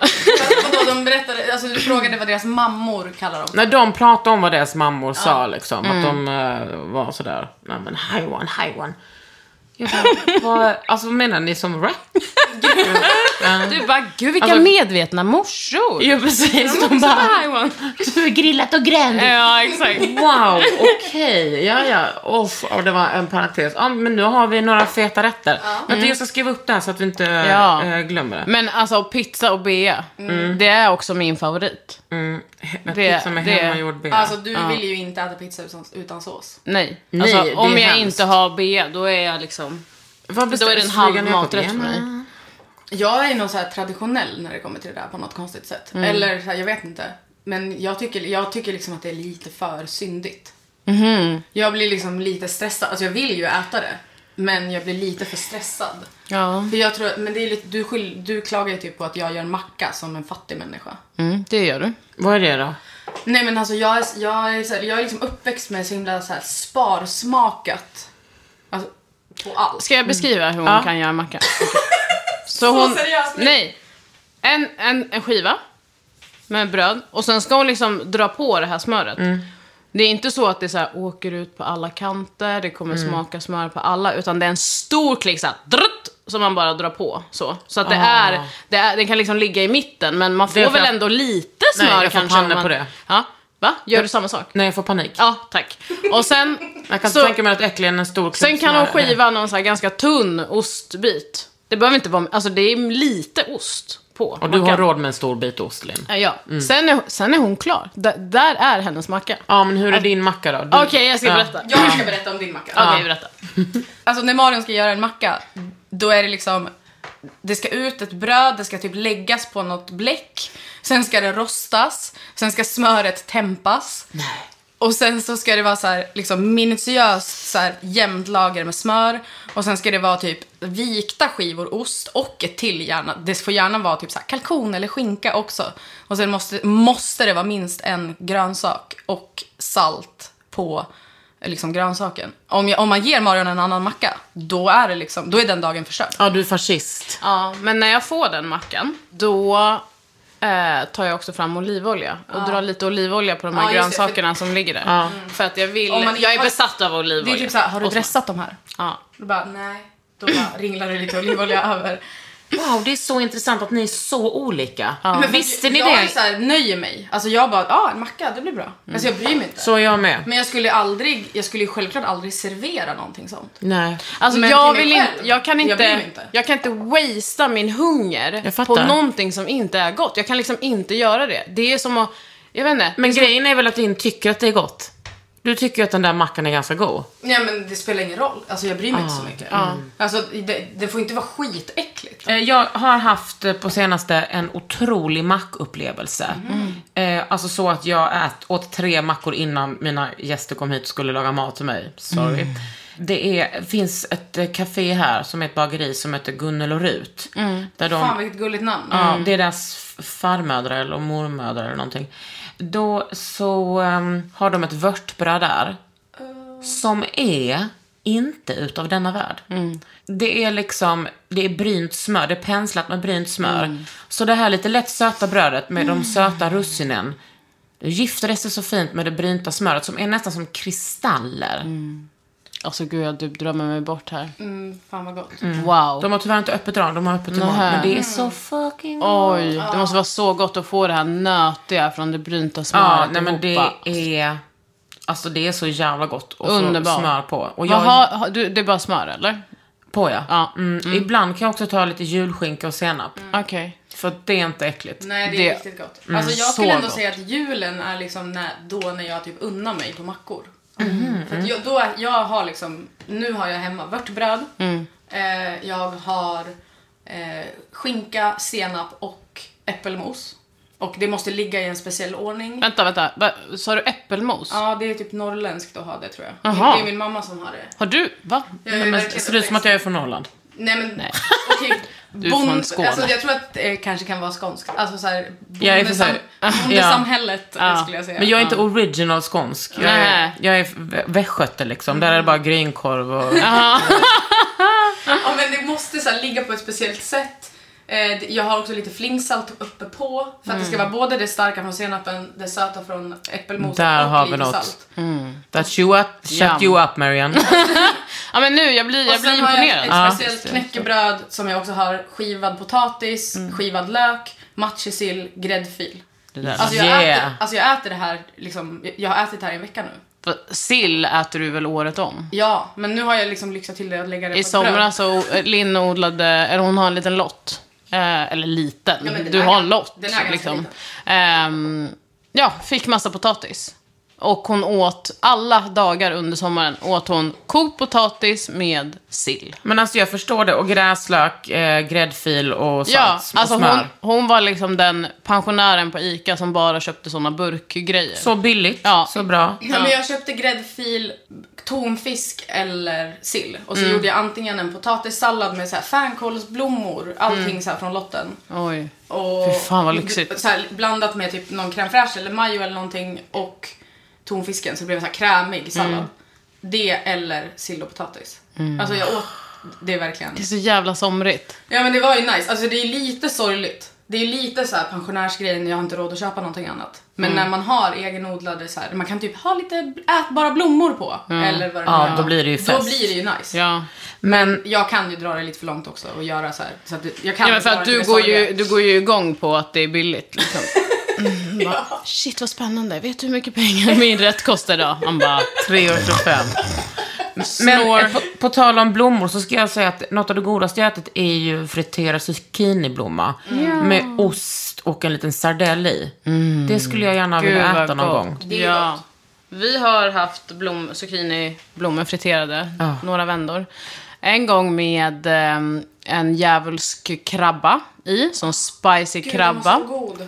S4: de berättade, alltså du frågade vad deras mammor kallar dem.
S2: När de pratade om vad deras mammor sa liksom, att
S3: Mm.
S2: de eh, var sådär, nej men high one, high one. Jag bara, vad, alltså menar ni som rap?
S3: Du bara, gud vilka
S2: Alltså-
S3: medvetna morsor!
S2: Ja precis, de
S3: Så
S2: bara,
S3: här, Johan.
S2: du har grillat och gränt.
S3: Ja, exakt.
S2: Wow, okej, ja ja, Off, och det var en parentes. Ja men nu har vi några feta rätter. Vänta jag ska skriva upp det här så att vi inte
S3: Mm. Ja.
S2: eh, glömmer det.
S3: Men alltså pizza och bea, det är också min favorit.
S2: Mm, he-
S3: Det-
S2: pizza med
S3: det-
S2: hemmagjord bea.
S4: Alltså du vill ju inte äta pizza utan, utan sås.
S3: Nej.
S2: Nej, det
S3: alltså,
S2: är
S3: om jag
S2: hemskt.
S3: inte har bea, då är jag liksom...
S2: Vad
S3: Då är det en
S2: bestäms-
S3: halv
S2: Flygande Jakob
S3: maträtt för
S2: igen?
S3: mig.
S4: Jag är nog så här traditionell när det kommer till det där på något konstigt sätt. Eller så här, jag vet inte. Men jag tycker, jag tycker liksom att det är lite för syndigt. Jag blir liksom lite stressad. Alltså jag vill ju äta det. Men jag blir lite för stressad.
S3: Ja.
S4: För jag tror, men det är lite, du, skyll, du klagar ju typ på att jag gör en macka som en fattig människa.
S3: Mm, det gör du.
S2: Vad är det då?
S4: Nej men alltså jag är, jag är, så här, jag är liksom uppväxt med så himla så här sparsmakat. Alltså, på allt.
S3: Ska jag beskriva hur hon
S2: Mm. Ja.
S3: kan göra macka? Så hon...
S4: seriöst nu.
S3: Nej. En, en, en skiva med bröd och sen ska hon liksom dra på det här smöret.
S2: Mm.
S3: Det är inte så att det så här, åker ut på alla kanter, det kommer
S2: Mm.
S3: smaka smör på alla, utan det är en stor klick så här, drutt, som man bara drar på. Så, så att det, är, det är, den kan liksom ligga i mitten, men man
S2: Ah. är
S3: får
S2: för
S3: väl
S2: att-
S3: ändå lite
S2: Nej,
S3: smör
S2: jag får
S3: kanske. om
S2: panna
S3: man,
S2: på det.
S3: Ja. Va? Gör du samma sak?
S2: Nej, jag får panik.
S3: Ja, tack. Och sen...
S2: Jag kan
S3: så,
S2: tänka mig att äckligen en stor
S3: sen
S2: klick
S3: kan
S2: sån
S3: de
S2: här-
S3: skiva någon så här ganska tunn ostbit. Det behöver inte vara... Alltså det är lite ost på.
S2: Och du
S3: mackan. Eh,
S2: har råd Mm. med en stor bit ost, Linn.
S3: Ja. Sen, är, sen är hon klar. D- där är hennes macka.
S2: Ja, men hur är din macka då? Du...
S3: Okej, jag ska
S2: Ja.
S3: berätta. Okej,
S4: Jag ska berätta om din macka.
S3: berätta.
S4: Alltså när Marion ska göra en macka, då är det liksom det ska ut ett bröd, det ska typ läggas på något bläck, sen ska det rostas, sen ska smöret tempas. Och sen så ska det vara så här, liksom minutiöst så här, jämnt lager med smör. Och sen ska det vara typ vikta skivor ost och ett till gärna. Det får gärna vara typ så här, kalkon eller skinka också. Och sen måste, måste det vara minst en grönsak och salt på liksom grönsaken. Om, jag, om man ger Marion en annan macka, då är, det liksom, då är den dagen förstörd.
S2: Ja, du är fascist.
S3: Ja, men när jag får den mackan, då eh, tar jag också fram olivolja och drar lite olivolja på de här
S4: Ja, just det, för-
S3: grönsakerna som ligger där. För att jag vill,
S4: Om man-
S3: jag är
S4: har-
S3: besatt av
S4: Det
S3: olivolja.
S4: är typ såhär, har du
S3: Och smak.
S4: dressat de här?
S3: Ja.
S4: Då bara, nej. Då bara ringlar det lite olivolja över.
S2: Wow, det är så intressant att ni är så olika.
S4: Men
S2: Visste ni
S4: Alltså, jag Jag är
S2: det? Mm.
S4: så här, nöjer mig. Alltså jag bara, ja ah, en macka, det blir bra. Alltså jag bryr mig inte.
S2: Så är jag med.
S4: Men jag skulle aldrig, jag skulle ju självklart aldrig servera någonting sånt.
S2: Nej.
S3: Alltså
S4: Men
S3: jag
S4: till mig
S3: vill
S4: själv,
S3: inte, jag kan
S4: jag
S3: inte,
S4: bryr
S3: jag,
S4: mig inte.
S3: kan inte wastea min hunger
S2: Jag fattar.
S3: på någonting som inte är gott. Jag kan liksom inte göra det. Det är som att, jag vet inte.
S2: Men grejen är väl att Linn tycker att det är gott. Du tycker ju att den där mackan är ganska god.
S4: Nej men det spelar ingen roll. Alltså jag bryr mig
S2: Ah,
S4: inte så mycket. Alltså det, det får inte vara skitäckligt.
S2: Eh, Jag har haft eh, på senaste en otrolig mackupplevelse.
S3: Mm.
S2: Eh, alltså så att jag ät, åt tre mackor innan mina gäster kom hit och skulle laga mat till mig. Sorry. Det är, finns ett eh, café här som är ett bageri som heter Gunnel och Rut. Där de,
S4: Fan vilket gulligt namn.
S2: Ja, det är deras f- farmödrar eller mormödrar eller någonting. Då så ehm, har de ett vörtbröd där. Som är inte utav denna värld. Det är liksom, det är brynt smör, det är penslat med brynt smör. Så det här lite lätt söta brödet med de söta russinen. Det gifter sig så fint med det brynta smöret som är nästan som kristaller.
S3: Alltså gud, jag typ drömmer mig bort här.
S4: Mm, fan vad gott.
S3: Wow.
S2: De har tyvärr inte öppet idag, de har öppet imorgon.
S3: Nähä.
S2: Men det är så fucking
S3: Oj, det måste vara så gott att få det här nötiga från det brynta smöret
S2: Ja, nej men det
S3: ihop.
S2: är... Alltså det är så jävla gott. Och
S3: Underbart.
S2: så smör på. Och jag
S3: Jaha, har du, det är bara smör eller?
S2: på ja.
S3: Ja.
S2: Mm. Ibland kan jag också ta lite julskinka och senap.
S3: Okej.
S2: För att det är inte äckligt.
S4: Nej det är
S3: Det- mm,
S4: riktigt gott. Alltså jag
S3: så
S4: skulle ändå
S3: gott.
S4: säga att julen är liksom när, då när jag typ unnar mig på mackor.
S3: Mm-hmm,
S4: För
S3: mm.
S4: att jag, då, är- jag har liksom, nu har jag hemma vörtbröd,
S3: Mm.
S4: eh, jag har eh, skinka, senap och äppelmos. Och det måste ligga i en speciell ordning.
S3: Vänta, vänta. Va, sa du äppelmos?
S4: Ja det är typ norrländskt att ha det tror jag.
S3: Jaha.
S4: Det är min mamma som har det.
S3: Har du? Va?
S4: Jag är
S2: Nej, men,
S4: verkligen
S2: ser ut som att jag är från Norrland.
S4: Nej men okej.
S3: Du är från
S4: Bond-
S3: Skåne.
S4: Alltså, jag tror att det kanske kan vara skånskt. Alltså såhär,
S2: Jag är för
S4: bondesam-
S2: såhär-
S4: bondesamhället skulle jag säga.
S2: Men jag är inte original skånsk. Jag är,
S3: Nej.
S2: jag är vä- västgöte liksom. Där är det bara grynkorv och...
S4: Ja men det måste så här, ligga på ett speciellt sätt. Eh, det- jag har också lite flingsalt uppe på för att det ska vara både det starka från senapen, det söta från äppelmoset
S2: Där
S4: och
S2: har vi
S4: lite
S2: något.
S4: salt.
S2: That you up, shut
S3: Yum.
S2: you up Marian.
S3: Ja men nu, jag blir, jag
S4: och
S3: blir
S4: sen har jag
S3: imponerad.
S4: ett speciellt knäckebröd som jag också har skivad potatis, skivad lök, matjessill, gräddfil.
S2: Det där.
S4: Alltså jag,
S2: yeah.
S4: äter, alltså jag äter det här, liksom, jag har ätit det här i en vecka nu.
S3: För Sill äter du väl året om?
S4: Ja, men nu har jag liksom lyxat till det att lägga det på
S3: I
S4: ett bröd.
S3: somras så eh, Linn odlade, eller hon har en liten lott. Eh, eller liten,
S4: Ja, men den
S3: du
S4: är
S3: har
S4: gan-
S3: en lott.
S4: den är ganska
S3: liksom.
S4: liten.
S3: Ehm, ja, fick massa potatis. Och hon åt, alla dagar under sommaren åt hon kokt potatis med sill.
S2: Men alltså jag förstår det. Och gräslök, eh, gräddfil och salt
S3: Ja,
S2: och
S3: alltså
S2: smör.
S3: hon, hon var liksom den pensionären på ICA som bara köpte såna burkgrejer.
S2: Så billigt,
S3: Ja.
S2: så bra.
S4: Ja, men jag köpte gräddfil, tonfisk eller sill. Och
S3: Mm.
S4: så gjorde jag antingen en potatissallad med så här fänkålsblommor, allting så här från lotten.
S3: Oj.
S4: Och
S3: Mm. Fy fan, vad lyxigt.
S4: Så här, blandat med typ någon crème fraîche eller majo eller någonting och tonfisken så det blev så här
S3: Mm.
S4: krämig sallad. Det eller sill och potatis. Alltså jag åt det verkligen.
S3: Mm. Det är så jävla somrigt.
S4: Ja men det var ju nice. Alltså det är lite sorgligt. Det är lite så här pensionärsgrejen, jag har inte råd att köpa någonting annat. Men
S3: Mm.
S4: när man har egenodlade så här, man kan typ ha lite ätbara blommor på. Eller vad det nu
S2: Ja,
S4: är.
S2: då blir det ju
S4: Då
S2: fest.
S4: blir det ju nice.
S3: Ja.
S2: Men
S4: Jag kan ju dra det lite för långt också och göra så här. Så att jag kan
S3: Ja, men för
S4: dra
S3: att
S4: det till
S3: du
S4: det
S3: går,
S4: sorgliga.
S3: ju, du går ju igång på att det är billigt. Liksom. Bara, Shit vad spännande, vet du hur mycket pengar min rätt kostar idag? Han bara,
S2: 3,25. Men
S3: Snår.
S2: eh, på, på tal om blommor så ska jag säga att något av det godaste jag ätit är ju friterad zucchiniblomma. Med ost och en liten sardell i. Det skulle jag gärna
S3: Mm. gud
S2: vilja
S3: vad
S2: äta någon gång.
S3: gott. Ja. Vi har haft blom, zucchiniblommor friterade några vändor. En gång med eh, en djävulsk krabba i, sån spicy krabba.
S4: God.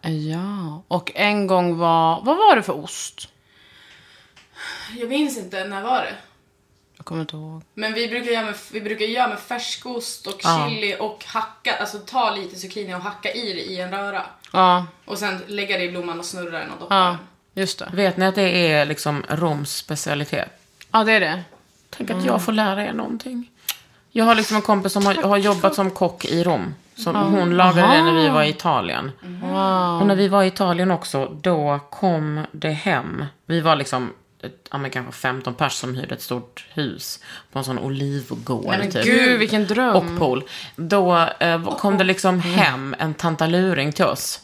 S3: Ja, och en gång var, vad var det för ost?
S4: Jag minns inte, när var det?
S3: Jag kommer inte ihåg.
S4: Men vi brukar göra med, vi brukar göra med färskost och chili och hacka, alltså ta lite zucchini och hacka i det i en röra.
S3: Ja,
S4: Och sen lägga det i blomman och snurra den och doppa
S3: ja,
S4: den.
S3: just det.
S2: Vet ni att det är liksom Roms specialitet?
S3: Ja, det är det.
S2: Tänk att jag får lära er någonting. Jag har liksom en kompis som har, har jobbat som kock i Rom. Som Hon lagade det när vi var i Italien.
S3: Mm.
S2: Och när vi var i Italien också, då kom det hem. Vi var liksom, ett, ja men kanske 15 pers som hyrde ett stort hus. På en sån olivgård typ.
S3: Gud, vilken dröm. Mm.
S2: Och pool. Då eh, kom det liksom hem en tantaluring till oss.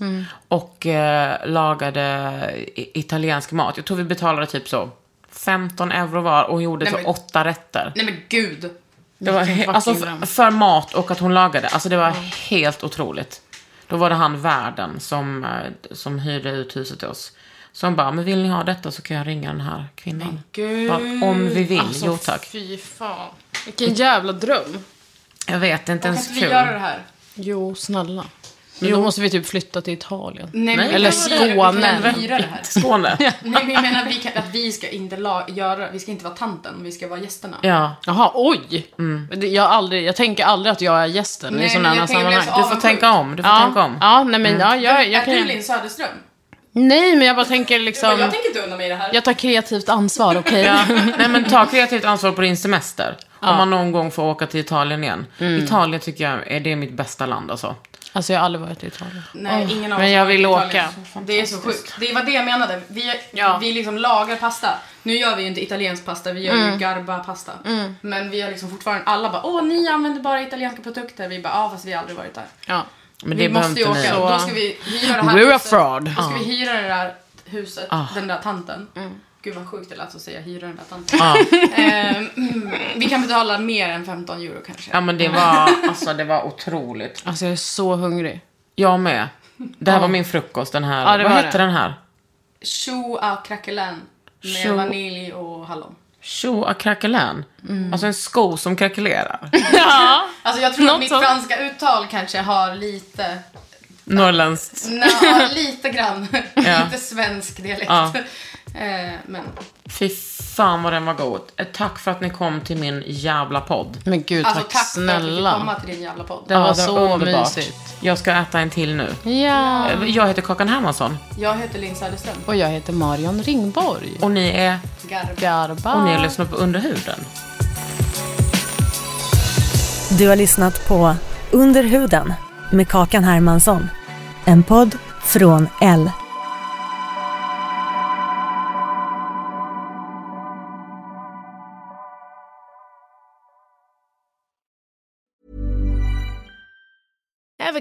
S2: Och eh, lagade eh, i- italiensk mat. Jag tror vi betalade typ så 15 euro var och hon gjorde
S4: Nej,
S2: så
S4: men-
S2: åtta rätter.
S4: Nej men gud!
S2: Det var
S3: Vilken
S2: he-
S3: fucking
S2: alltså,
S3: dröm.
S2: f- för mat och att hon lagade. Alltså det var helt otroligt. Då var det han värden som, eh, som hyrde ut huset till oss. Som bara, men vill ni ha detta så kan jag ringa den här kvinnan.
S3: Gud.
S2: Bara, om vi vill,
S3: Alltså,
S2: jo tack.
S3: fy fan. Vilken jävla dröm.
S2: Jag vet, det är inte
S4: Kan
S2: ens
S4: inte vi
S2: Alltså, kul.
S4: göra det här?
S3: Jo, snälla. Men då måste vi typ flytta till Italien.
S4: Nej, men vi
S3: Eller
S4: kan göra det. Vi kan
S3: Skåne.
S4: hyra det här.
S2: Skåne.
S4: Nej men jag menar vi kan, att vi ska inte la, göra, vi ska inte vara tanten, vi ska vara gästerna.
S2: Ja.
S3: Jaha, oj!
S2: Mm.
S3: Det- Jag, har aldrig, jag tänker aldrig att jag är gästen
S4: Nej,
S3: i sådana
S4: men
S3: här
S4: jag tänker
S3: sammanhang.
S4: bli så
S2: Du
S4: av-
S2: får
S4: Avundsjuk.
S2: tänka om. Du får
S3: ja,
S2: tänka om. Mm.
S3: ja, nej men ja, jag, jag
S4: är du
S3: kan...
S4: Linn Äh, Söderström?
S3: Nej, men jag bara tänker
S4: Jag, bara, jag
S3: liksom...
S4: tänker inte undan mig det här.
S3: Jag tar kreativt ansvar, okej?
S2: Ja. Nej men ta kreativt ansvar på din semester. Om man någon gång får åka till Italien igen.
S4: Mm.
S2: Italien tycker jag är det är mitt bästa land alltså.
S3: Alltså jag har aldrig varit i Italien.
S4: Nej, ingen av
S3: men
S4: oss
S3: jag
S4: har varit
S3: vill
S4: i Italien.
S3: åka.
S4: Det är så sjukt. Det var det jag menade. Vi,
S3: Ja.
S4: vi liksom lagar pasta. Nu gör vi ju inte italiensk pasta, vi gör ju garba-pasta. Men vi har liksom fortfarande, alla bara åh ni använder bara italienska produkter. Vi bara ja fast vi har aldrig varit där.
S3: Ja.
S2: Men
S4: vi
S2: det behöver
S4: måste ju
S2: inte ni.
S4: åka.
S3: Så-
S4: Då ska vi hyra det här
S3: We're a
S4: huset.
S3: fraud.
S4: Då ska vi hyra det där huset, den där tanten. Gud vad sjukt det lät att säga hyra den där tanten. Ehm, mm, vi kan betala mer än 15 euro kanske.
S2: Ja men det var, alltså det var otroligt.
S3: Alltså jag är så hungrig.
S2: Jag med. Det här var min frukost den här,
S3: Ja, det
S2: vad
S3: var
S2: hette
S3: det.
S2: den här?
S4: Chou à craquelin med
S2: Chou-
S4: vanilj och hallon.
S2: Tjo à craquelin.
S3: Mm.
S2: Alltså en sko som krackelerar.
S3: Ja.
S4: Alltså jag tror
S3: Något
S4: att mitt
S3: sånt.
S4: franska uttal kanske har lite,
S2: Norrländskt.
S4: nja, lite grann,
S2: Ja.
S4: lite svensk dialekt.
S2: Ja.
S4: Eh, men
S2: Fy fan vad den var god. Eh, Tack för att ni kom till min jävla podd.
S3: Men gud,
S4: alltså
S3: tack,
S4: tack för att vi fick
S3: snälla.
S4: komma till din jävla podd.
S3: Det var
S2: Ja,
S3: så mysigt.
S2: Jag ska äta en till nu.
S3: Ja.
S2: Eh, Jag heter Kakan Hermansson
S4: Jag heter Linn Söderström.
S3: Och jag heter Marion Ringborg.
S2: och ni är
S4: Garv.
S3: Garba.
S2: och ni lyssnar på Underhuden.
S1: Du har lyssnat på Under huden med Kakan Hermansson. En podd från L.
S5: Ever